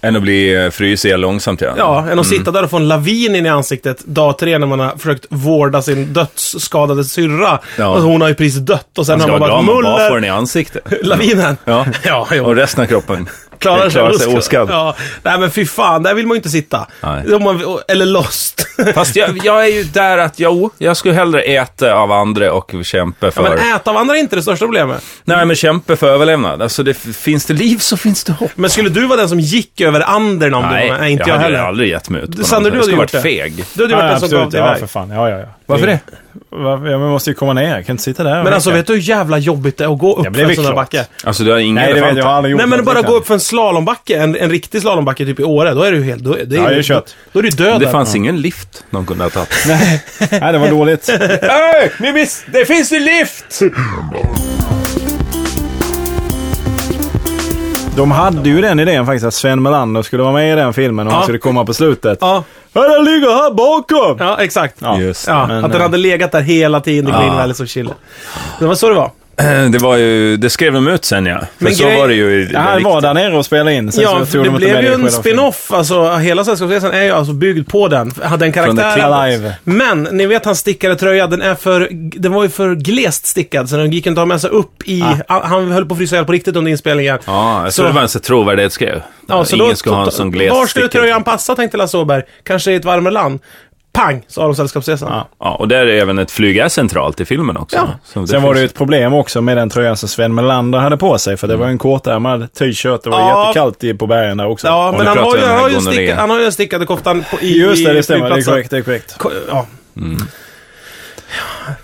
Speaker 2: Än att bli eh, frysig långsamt ja. Mm.
Speaker 1: Ja, än att sitta där och få en lavin in i ansiktet dag tre när man har försökt vårda sin dödsskadade syrra.
Speaker 2: Ja.
Speaker 1: Och hon har ju precis dött och sen
Speaker 2: Man
Speaker 1: har
Speaker 2: ska
Speaker 1: man
Speaker 2: vara
Speaker 1: bara
Speaker 2: glad man bara får den
Speaker 1: muller.
Speaker 2: i ansiktet.
Speaker 1: Lavinen.
Speaker 2: Ja.
Speaker 1: ja jo.
Speaker 2: Och resten av kroppen
Speaker 1: Klarar sig,
Speaker 2: sig oskadd.
Speaker 1: Ja. Nej men fy fan, där vill man ju inte sitta.
Speaker 2: Nej.
Speaker 1: Om man- Eller lost.
Speaker 2: Fast jag, jag är ju där att, jo, jag skulle hellre äta av andra och kämpa för...
Speaker 1: Men äh. äta av andra är inte det största problemet.
Speaker 2: Nej, men kämpa för överlevnad. Alltså, det, f- finns det liv så finns det hopp.
Speaker 1: Men skulle du vara den som gick över anderna om du var med? Nej, inte jag,
Speaker 2: hade
Speaker 1: heller.
Speaker 2: aldrig gett mig ut. på
Speaker 1: Sander,
Speaker 2: något.
Speaker 1: du
Speaker 2: jag
Speaker 1: hade
Speaker 2: skulle
Speaker 1: gjort
Speaker 2: varit
Speaker 1: det.
Speaker 2: feg.
Speaker 1: Du hade gjort
Speaker 3: Ja,
Speaker 1: den som gav
Speaker 3: absolut.
Speaker 1: dig
Speaker 3: Ja,
Speaker 1: iväg.
Speaker 3: för fan. Ja, ja, ja.
Speaker 2: Varför det?
Speaker 3: Varför? Jag måste ju komma ner. Jag kan inte sitta där. och
Speaker 1: Men
Speaker 3: leka.
Speaker 1: alltså vet du hur jävla jobbigt det är att gå upp
Speaker 3: men det
Speaker 1: för
Speaker 3: är
Speaker 1: en
Speaker 3: väl
Speaker 1: sån där
Speaker 3: klart.
Speaker 1: backe?
Speaker 2: Alltså, du har inga
Speaker 3: Nej, det vet jag. Jag har
Speaker 2: elefanter.
Speaker 3: aldrig gjort
Speaker 1: Nej men
Speaker 3: något
Speaker 1: bara gå
Speaker 3: liknande.
Speaker 1: upp för en slalombacke, en, en riktig slalombacke typ i Åre, då är du ju helt... Då, det är,
Speaker 3: Ja, det
Speaker 1: ju-
Speaker 3: är kört.
Speaker 1: Då är du död
Speaker 2: Det
Speaker 1: där.
Speaker 2: fanns ingen lift någon kunde ha tagit.
Speaker 3: Nej, det var dåligt.
Speaker 2: Öj, ni miss, det finns en lift!
Speaker 3: De hade ju den idén faktiskt att Sven Melander skulle vara med i den filmen och
Speaker 1: Ja.
Speaker 3: han skulle komma på slutet.
Speaker 1: Ja,
Speaker 3: Hörru, Han ligger här bakom!
Speaker 1: ja exakt. Ja.
Speaker 2: Just det.
Speaker 3: men,
Speaker 1: att den
Speaker 3: eh,
Speaker 1: hade legat där hela tiden i Green Valley som chille. Det var så det var.
Speaker 2: Eh, Det var ju, det skrev de ut sen ja. Men
Speaker 1: Men
Speaker 2: så
Speaker 1: grej-
Speaker 2: var det ju i, i
Speaker 3: Ja, han var där nere och spelade in. Sen
Speaker 1: Ja,
Speaker 3: så
Speaker 1: för
Speaker 3: tog
Speaker 1: det
Speaker 3: de inte
Speaker 1: blev
Speaker 3: med
Speaker 1: ju
Speaker 3: i själva
Speaker 1: en spin-off. Alltså, hela Sällskapsresan är ju alltså byggd på den. Hade en
Speaker 2: Från The
Speaker 1: karaktär.
Speaker 3: Alive.
Speaker 1: Men, ni vet hans stickade tröja, den, är för, den var ju för glest stickad så den gick inte att ha med sig upp i... Ah, Han höll på att frysa ihjäl på riktigt under inspelningen.
Speaker 2: Ah. Ja, jag tror
Speaker 1: Så-
Speaker 2: det var en sån trovärdighetsgrej.
Speaker 1: Ja, så
Speaker 2: Ingen
Speaker 1: då-
Speaker 2: ska ha en sån gles
Speaker 1: Var skulle
Speaker 2: stickad-
Speaker 1: tröjan passa, tänkte Lasse Åberg. Kanske i ett varmare land. Pang, sa de Sällskapsresan.
Speaker 2: Ja, och där är även ett flyg är centralt i filmen också.
Speaker 1: Ja.
Speaker 2: Så
Speaker 3: Sen var det ju
Speaker 2: finns-
Speaker 3: ett problem också med den tröjan som Sven Melander hade på sig. För det var ju en kortärmad t-shirt. Det var
Speaker 1: Mm. Ja.
Speaker 3: jättekallt i- på bergen där också.
Speaker 1: Ja,
Speaker 2: Om
Speaker 1: men
Speaker 2: du
Speaker 1: han
Speaker 2: pratar
Speaker 1: har,
Speaker 2: om
Speaker 1: ju,
Speaker 2: den
Speaker 1: han,
Speaker 2: här
Speaker 1: har ju
Speaker 2: gonorrén.
Speaker 1: sticka, han har ju den stickade koftan på, i
Speaker 3: Just det,
Speaker 1: i
Speaker 3: det stämmer. Det är
Speaker 1: flygplatsen.
Speaker 3: korrekt. Det är korrekt.
Speaker 1: Ko- Ja.
Speaker 3: Mm.
Speaker 1: Ja,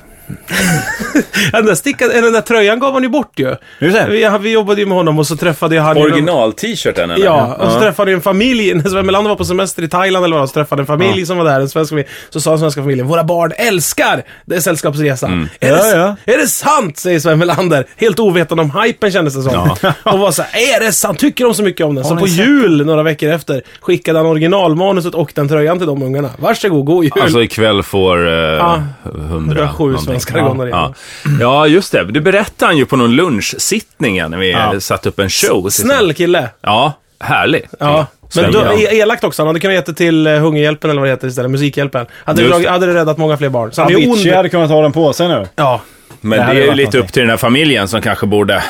Speaker 1: den, där stickade, den där tröjan gav han ju bort ju.
Speaker 3: Just det.
Speaker 1: Vi, vi jobbade ju med honom och så träffade jag han ju någon-
Speaker 2: Original-t-shirten eller?
Speaker 1: Ja, och så träffade jag en familj. När Sven Melander var på semester i Thailand eller vad det var, så träffade jag en familj som var där, en svensk familj. Så sa den svenska familjen, våra barn älskar det är Sällskapsresan. Är, det,
Speaker 3: Mm. Ja,
Speaker 1: är det sant? Säger Sven Melander. Helt ovetande om hypen kändes det som. och var så här, är det sant? Tycker de så mycket om den? Så
Speaker 3: ni
Speaker 1: på
Speaker 3: sett
Speaker 1: jul, några veckor efter, skickade han originalmanuset och den tröjan till de ungarna. Varsågod, god jul.
Speaker 2: Alltså ikväll får eh, 100,
Speaker 1: 107
Speaker 2: någonting.
Speaker 1: svenskar
Speaker 2: ja.
Speaker 1: gånger
Speaker 2: ja.
Speaker 1: igen.
Speaker 2: ja, just det. Du berättade han ju på någon lunchsittningen när vi
Speaker 3: Ja.
Speaker 2: satte upp en show.
Speaker 1: Snäll kille.
Speaker 2: Ja, härlig.
Speaker 1: Ja. Men
Speaker 2: Sven
Speaker 1: du,
Speaker 2: Melander.
Speaker 1: e- elakt också, han hade kunnat ge det till eh, Hungerhjälpen eller vad det heter istället, Musikhjälpen. Hade,
Speaker 2: Just
Speaker 1: drag,
Speaker 2: det.
Speaker 1: hade det räddat många fler barn. Så han är ju ond.
Speaker 3: Avicii hade kunnat ha den på sig nu.
Speaker 1: Ja.
Speaker 2: Men
Speaker 3: Det
Speaker 2: det,
Speaker 3: hade
Speaker 2: är ju
Speaker 3: varit
Speaker 2: lite
Speaker 3: någonting.
Speaker 2: upp till den här familjen som kanske borde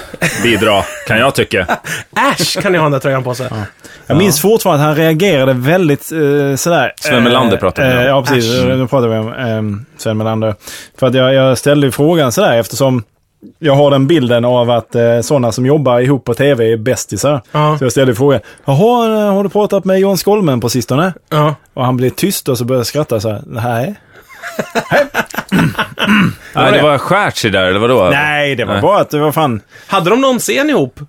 Speaker 2: bidra, kan jag tycka.
Speaker 1: Ash kan ju ha den där tröjan på sig.
Speaker 3: Jag minns fortfarande att han reagerade väldigt eh, sådär...
Speaker 2: Sven Melander
Speaker 3: eh,
Speaker 2: pratade vi om.
Speaker 3: eh, Ja, precis. Nu pratar vi om eh, Sven Melander. För att jag, jag ställde ju frågan sådär eftersom jag har den bilden av att eh, sådana som jobbar ihop på tv är bästisar.
Speaker 1: Ja.
Speaker 3: Så jag ställde frågan. Jaha, eh, har du pratat med John Skolmen på sistone?
Speaker 1: Ja.
Speaker 3: Och han blev tyst och så började jag skratta så här. Nej.
Speaker 2: Nej, det var skärt sig där, eller vadå?
Speaker 3: Nej, det var bara att det var fan...
Speaker 1: Hade de någon scen ihop?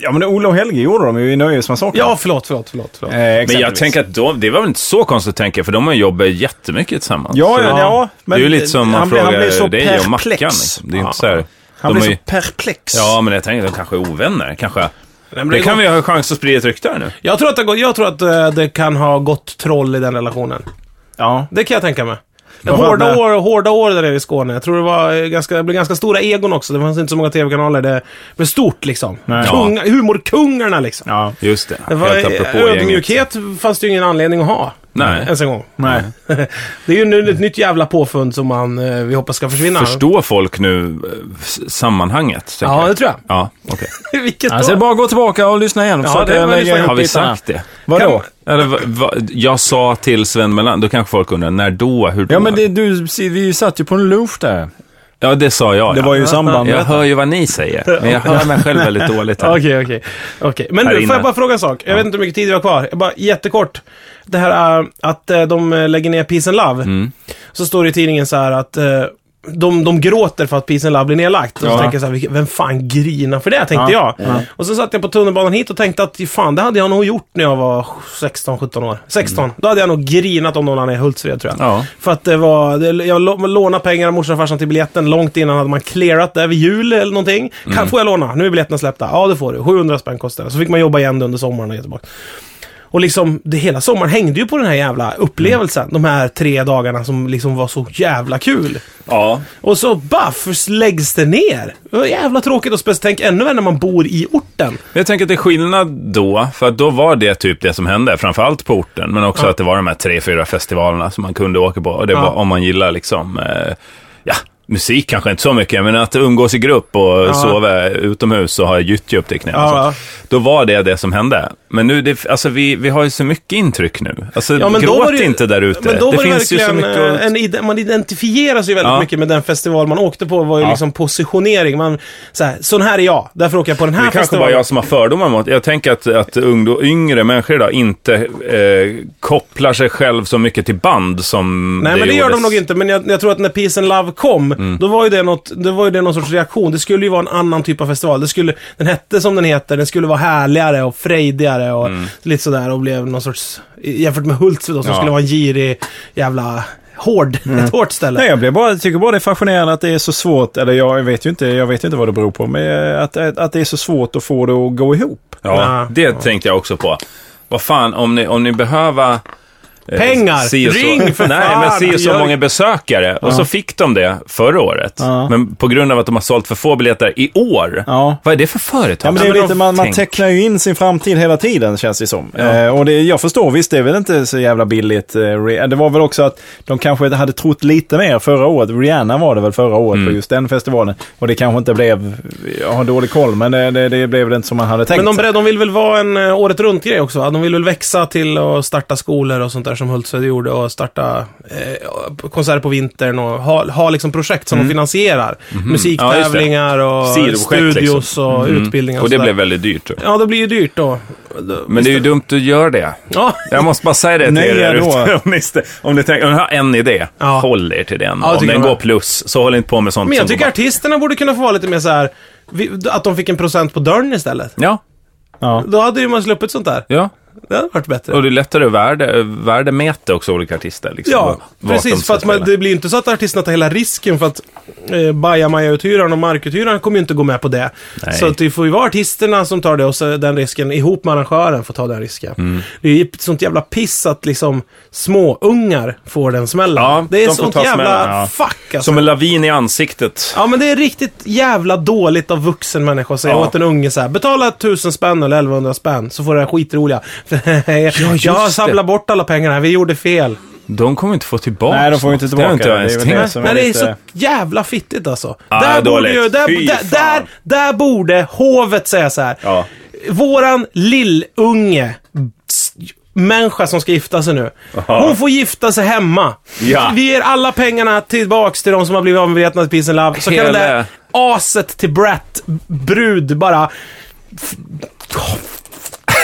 Speaker 3: Ja, men Ola och Helge gjorde de ju i Nöjesmassakern.
Speaker 1: Ja, förlåt, förlåt, förlåt. förlåt.
Speaker 3: Eh,
Speaker 2: Men jag
Speaker 3: exempelvis.
Speaker 2: tänker att de, det var väl inte så konstigt att tänka, för de har jobbat jättemycket tillsammans.
Speaker 3: Ja,
Speaker 2: Så-
Speaker 3: ja, ja.
Speaker 2: det är ju lite som om man
Speaker 3: han blir- han
Speaker 2: frågar
Speaker 3: blir så
Speaker 2: dig och Mackan.
Speaker 3: perplex.
Speaker 2: Liksom. Det är ju inte så här.
Speaker 3: Han
Speaker 2: de
Speaker 3: blev
Speaker 2: är
Speaker 3: så
Speaker 2: ju-
Speaker 3: perplex.
Speaker 2: Ja, men jag tänker att de kanske är ovänner, kanske.
Speaker 1: men det
Speaker 2: Det kan
Speaker 1: går-
Speaker 2: vi ha chans att sprida ett rykte här nu.
Speaker 1: Jag tror att, det, går- jag tror att eh, det kan ha gått troll i den relationen.
Speaker 3: ja.
Speaker 1: Det kan jag tänka mig.
Speaker 3: Vad var
Speaker 1: Hårda
Speaker 3: det?
Speaker 1: år, hårda år där nere i Skåne. Jag tror det var eh, ganska, det blev ganska stora egon också. Det fanns inte så många tv-kanaler. Det blev stort liksom.
Speaker 3: Nej.
Speaker 1: Kunga, humorkungarna liksom.
Speaker 3: ja.
Speaker 2: Just det.
Speaker 1: Det var,
Speaker 2: Helt apropå gänget.
Speaker 1: ödmjukhet fanns det ju ingen anledning att ha.
Speaker 2: Nej.
Speaker 1: ens en gång.
Speaker 3: Nej.
Speaker 1: Det är ju nu ett nytt jävla påfund som man, eh, vi hoppas ska försvinna.
Speaker 2: Förstår folk nu eh, s- sammanhanget? tänker
Speaker 1: Ja,
Speaker 2: jag.
Speaker 1: det tror jag.
Speaker 2: Ja, okej. eh,
Speaker 1: Vilket
Speaker 3: Alltså, det är
Speaker 1: då?
Speaker 3: bara att gå tillbaka och lyssna igen.
Speaker 1: Ja,
Speaker 3: Försöka
Speaker 1: det är väl
Speaker 3: lägga
Speaker 1: lyssna-
Speaker 2: Har
Speaker 3: ihop
Speaker 2: vi
Speaker 3: bitarna.
Speaker 2: sagt det?
Speaker 3: Vadå?
Speaker 2: Eller, va, va, jag sa till Sven Melander, då kanske folk undrar, när då? Hur då?
Speaker 3: Ja, men det, du, vi satt ju på en lunch där.
Speaker 2: ja, det sa jag.
Speaker 3: Det
Speaker 2: ja.
Speaker 3: var ju i samband med
Speaker 2: Jag hör ju vad ni säger, men jag hör mig själv väldigt dåligt här.
Speaker 1: Okej, okej. Okej. Men
Speaker 2: Här
Speaker 1: du,
Speaker 2: inne.
Speaker 1: får jag bara fråga en sak? Jag vet inte hur mycket tid vi har kvar. Jag bara jättekort. Det här eh, att eh, de eh, lägger ner Peace and Love.
Speaker 2: Mm.
Speaker 1: Så står det i tidningen så här att eh, de, de gråter för att Peace and Love blir nedlagt. Och så
Speaker 3: Ja.
Speaker 1: tänker jag så här, "Vilken- vem fan grinar för det? Tänkte
Speaker 3: Ja.
Speaker 1: jag. Och så satt jag på tunnelbanan hit och tänkte att fan, det hade jag nog gjort när jag var 16-17 år. 16.
Speaker 3: Mm.
Speaker 1: Då hade jag nog grinat om någon annan i Hultsfred tror jag.
Speaker 2: Ja.
Speaker 1: För att det var, det, jag lå- lånade pengar av morsan och farsan till biljetten. Långt innan hade man clearat det vid jul eller någonting.
Speaker 3: Mm.
Speaker 1: Kan, får jag låna? Nu är biljetterna släppta. Ja, det får du. 700 spänn kostar det. Så fick man jobba igen det under sommaren och ge tillbaka. Och liksom, det hela sommaren hängde ju på den här jävla upplevelsen. De här tre dagarna som liksom var så jävla kul.
Speaker 2: Ja.
Speaker 1: Och så baff läggs det ner. Det var jävla tråkigt och speciellt tänk ännu värre när man bor i orten.
Speaker 2: Jag tänker att det är skillnad då, för att då var det typ det som hände, framförallt på orten, men också
Speaker 1: Ja.
Speaker 2: att det var de här tre, fyra festivalerna som man kunde åka på. Och det
Speaker 1: Ja.
Speaker 2: var om man gillar liksom, eh, ja, musik kanske inte så mycket, men att umgås i grupp och sova utomhus och ha gyttja upp till knä. och
Speaker 1: Ja,
Speaker 2: sånt. Då var det det som hände. Men nu, det, alltså vi, vi har ju så mycket intryck nu. Alltså,
Speaker 1: Ja, men då
Speaker 2: gråt
Speaker 1: var det ju-
Speaker 2: inte där ute.
Speaker 1: Men då
Speaker 2: det
Speaker 1: var det
Speaker 2: finns ju så
Speaker 1: verkligen,
Speaker 2: mycket
Speaker 1: eh, en, ide- man identifierar sig väldigt
Speaker 2: Ja.
Speaker 1: mycket med den festival man åkte på. var ju liksom positionering. Man, så här, sån här är jag, därför åker jag på den här
Speaker 2: Det kanske
Speaker 1: festivalen.
Speaker 2: bara jag som har fördomar mot. Jag tänker att, att ungdom, yngre människor idag inte eh, kopplar sig själv så mycket till band som
Speaker 1: Nej, men det gör de
Speaker 2: gjordes. Mm.
Speaker 1: nog inte. Men jag, jag tror att när Peace and Love kom, då var ju det, något, då var ju det någon sorts reaktion. Det skulle ju vara en annan typ av festival. Det skulle, den hette som den heter, den skulle vara härligare och frejdigare och lite sådär och blev någon sorts, jämfört med Hultsfred då, som
Speaker 2: Mm. Ja. Mm.
Speaker 1: skulle vara en girig jävla hård, ett hårt ställe.
Speaker 3: Nej, jag blir bara, tycker bara det är fascinerande att det är så svårt, eller jag vet ju inte, jag vet ju inte vad det beror på, men eh, att, att att det är så svårt att få det att gå ihop.
Speaker 2: Ja,
Speaker 1: Ja.
Speaker 2: det tänkte jag också på. Vad fan, om ni, om ni behöver... eh,
Speaker 1: Pengar!
Speaker 2: si och så-
Speaker 1: Ring för
Speaker 2: Nej,
Speaker 1: fan!
Speaker 2: men si och så
Speaker 1: Gör-
Speaker 2: många besökare. Och så fick de det förra året.
Speaker 3: Ja.
Speaker 2: Men på grund av att de har sålt för få biljetter i år.
Speaker 3: Ja.
Speaker 2: Vad är det för företag?
Speaker 3: Ja, men det är
Speaker 2: Ja,
Speaker 3: ju lite,
Speaker 2: de-
Speaker 3: man, man
Speaker 2: tänk.
Speaker 3: tecknar ju in sin framtid hela tiden känns det som. Eh, och det, jag förstår, visst det är väl inte så jävla billigt. Eh, Rih- det var väl också att de kanske hade trott lite mer förra året. Rihanna var det väl förra året
Speaker 2: Mm.
Speaker 3: på just den festivalen. Och det kanske inte blev, jag har dålig koll, men det, det, det blev väl inte som man hade tänkt.
Speaker 1: Men de, bre- de vill väl vara en eh, året runt-grej också? va? De vill väl växa till att starta skolor och sånt där som Hultsfred gjorde och starta eh, konserter på vintern och ha, ha liksom projekt som de finansierar. Musiktävlingar
Speaker 2: Mm. Mm-hmm. Ja, just
Speaker 1: och
Speaker 2: det. Sidoprojekt liksom.
Speaker 1: studios och utbildningar
Speaker 2: Och det
Speaker 1: sådär.
Speaker 2: blev väldigt dyrt.
Speaker 1: Ja, det blir ju dyrt då. Då-
Speaker 2: Men det är ju dumt att göra det.
Speaker 1: Ja,
Speaker 2: Jag måste bara säga det till
Speaker 3: Nej,
Speaker 2: er där
Speaker 3: då.
Speaker 2: ute. Om ni, stä- om ni tänker, om ni har en idé,
Speaker 1: Ja.
Speaker 2: håll er till den.
Speaker 1: Ja, jag
Speaker 2: om
Speaker 1: tycker
Speaker 2: den
Speaker 1: jag
Speaker 2: går
Speaker 1: med.
Speaker 2: plus, så håll inte på med sånt
Speaker 1: men jag
Speaker 2: som
Speaker 1: tycker
Speaker 2: går
Speaker 1: artisterna borde kunna få vara lite mer så här. vi- Att de fick en procent på dörren istället.
Speaker 2: Ja,
Speaker 3: ja.
Speaker 1: Då hade ju man sluppit sånt där.
Speaker 2: ja.
Speaker 1: Det hade varit bättre.
Speaker 2: Och det är lättare att värde, värdemäta också olika artister. Liksom,
Speaker 1: Ja,
Speaker 2: vart de
Speaker 1: precis.
Speaker 2: ska
Speaker 1: För att man,
Speaker 2: spela.
Speaker 1: det blir ju inte så att artisterna tar hela risken för att eh, Bajamaja-uthyraren och markuthyraren kommer ju inte gå med på det.
Speaker 2: Nej.
Speaker 1: Så att det får ju vara artisterna som tar det och så den risken ihop med arrangören får ta den risken.
Speaker 2: Mm.
Speaker 1: Det är ju ett sånt jävla piss att liksom småungar får den smällen.
Speaker 2: Ja,
Speaker 1: det är
Speaker 2: de får
Speaker 1: sånt
Speaker 2: ta
Speaker 1: jävla
Speaker 2: smällen, ja.
Speaker 1: fuck alltså.
Speaker 2: Som en lavin i ansiktet.
Speaker 1: Ja men det är riktigt jävla dåligt av vuxen människa att säga
Speaker 2: Ja.
Speaker 1: åt en unge så här. Betala 1000 spänn eller 1100 spänn så får du det här skitroliga. jag har
Speaker 2: det.
Speaker 1: samlat bort alla pengarna här, vi gjorde fel.
Speaker 2: De kommer inte få tillbaka
Speaker 3: Nej, de får ju inte
Speaker 2: något. Det har inte jag ens
Speaker 3: tillbaka det. Det är väl
Speaker 2: tänkt.
Speaker 3: som
Speaker 1: Nej,
Speaker 3: är
Speaker 1: det är
Speaker 3: lite-
Speaker 1: så jävla fittigt alltså.
Speaker 2: Ja,
Speaker 1: där, borde
Speaker 2: dåligt.
Speaker 1: ju, där,
Speaker 2: Fy
Speaker 1: där,
Speaker 2: fan.
Speaker 1: där, där borde hovet säga så här.
Speaker 2: Ja.
Speaker 1: Våran lillunge, s- människa som ska gifta sig nu. Hon får gifta sig hemma.
Speaker 2: Ja.
Speaker 1: Vi ger alla pengarna tillbaks till de som har blivit av med Vietnam Peace and Love. Så kan det
Speaker 2: Hela-
Speaker 1: där aset till Brett, brud, bara...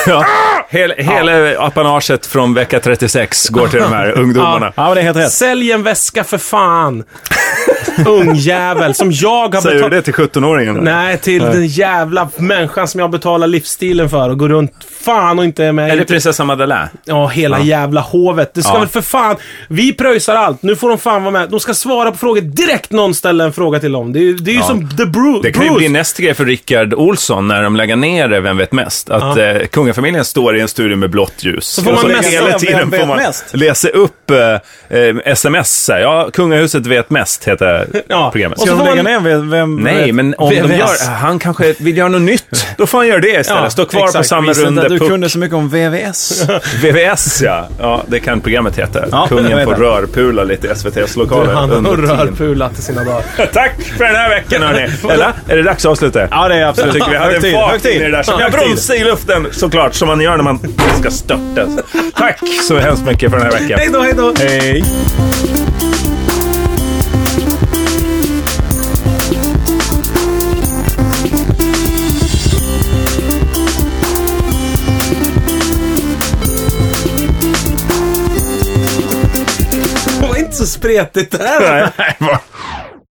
Speaker 2: Ja. Hela, hela apanaget från vecka 36 går till de här ungdomarna.
Speaker 3: ja, men det är helt rätt.
Speaker 1: Sälj en väska för fan. Ungjävel som jag har
Speaker 2: Säger du
Speaker 1: betalat...
Speaker 2: det till 17-åringen?
Speaker 1: Nej, till den jävla människan som jag betalar livsstilen för och går runt fan och inte är med.
Speaker 2: Eller
Speaker 1: Inte-
Speaker 2: prinsessa Madeleine?
Speaker 1: Ja, hela jävla hovet. Det ska
Speaker 2: Ja.
Speaker 1: väl för fan... Vi pröjsar allt. Nu får de fan vara med. De ska svara på frågor direkt någon ställer en fråga till dem. Det är, ju- det är ju som The Bru-
Speaker 2: Det kan ju
Speaker 1: Bruce.
Speaker 2: bli nästa grej för Rickard Olsson när de lägger ner det, Vem vet mest? Att eh, kungafamiljen står i en studio med blått ljus. Så
Speaker 1: får man messa
Speaker 2: hela
Speaker 3: Vem
Speaker 2: tiden
Speaker 3: vet
Speaker 2: får man
Speaker 3: mest?
Speaker 2: läsa upp eh, eh, sms. så här. Ja, kungahuset vet mest heter här
Speaker 1: Ja,
Speaker 2: programmet.
Speaker 1: och
Speaker 3: Ska
Speaker 1: så
Speaker 3: de
Speaker 1: får
Speaker 3: lägga
Speaker 1: man-
Speaker 3: ner vem? vem
Speaker 2: Nej,
Speaker 3: vet?
Speaker 2: men om de
Speaker 3: VVS.
Speaker 2: gör, han kanske vill göra något nytt. Då får han göra det istället.
Speaker 1: Ja,
Speaker 2: Stå kvar på
Speaker 1: exakt.
Speaker 2: samma
Speaker 3: Visste inte
Speaker 2: runda
Speaker 3: att du
Speaker 2: puck.
Speaker 3: kunde så mycket om VVS.
Speaker 2: VVS, ja. ja. Det kan programmet heta.
Speaker 3: Ja, jag
Speaker 2: Kungen
Speaker 3: vet
Speaker 2: får
Speaker 3: det.
Speaker 2: rörpula lite i SVTs lokaler
Speaker 1: Han
Speaker 2: under
Speaker 1: har
Speaker 2: tiden.
Speaker 1: rörpulat i sina dagar.
Speaker 2: Tack för den här veckan, hörni. Eller? Är det dags att avsluta?
Speaker 3: ja, det är
Speaker 2: Jag
Speaker 3: absolut.
Speaker 2: tycker vi hade
Speaker 3: Högtid,
Speaker 2: en fart
Speaker 3: högtid.
Speaker 2: in i det där. Som
Speaker 3: Ja,
Speaker 2: jag
Speaker 3: högtid.
Speaker 2: bromsade i luften såklart, som man gör när man ska störta. Tack så hemskt mycket för den här veckan.
Speaker 1: Hej då, hej då!
Speaker 2: Hej!
Speaker 1: Det var inte så spretigt det här.
Speaker 2: Nej, vad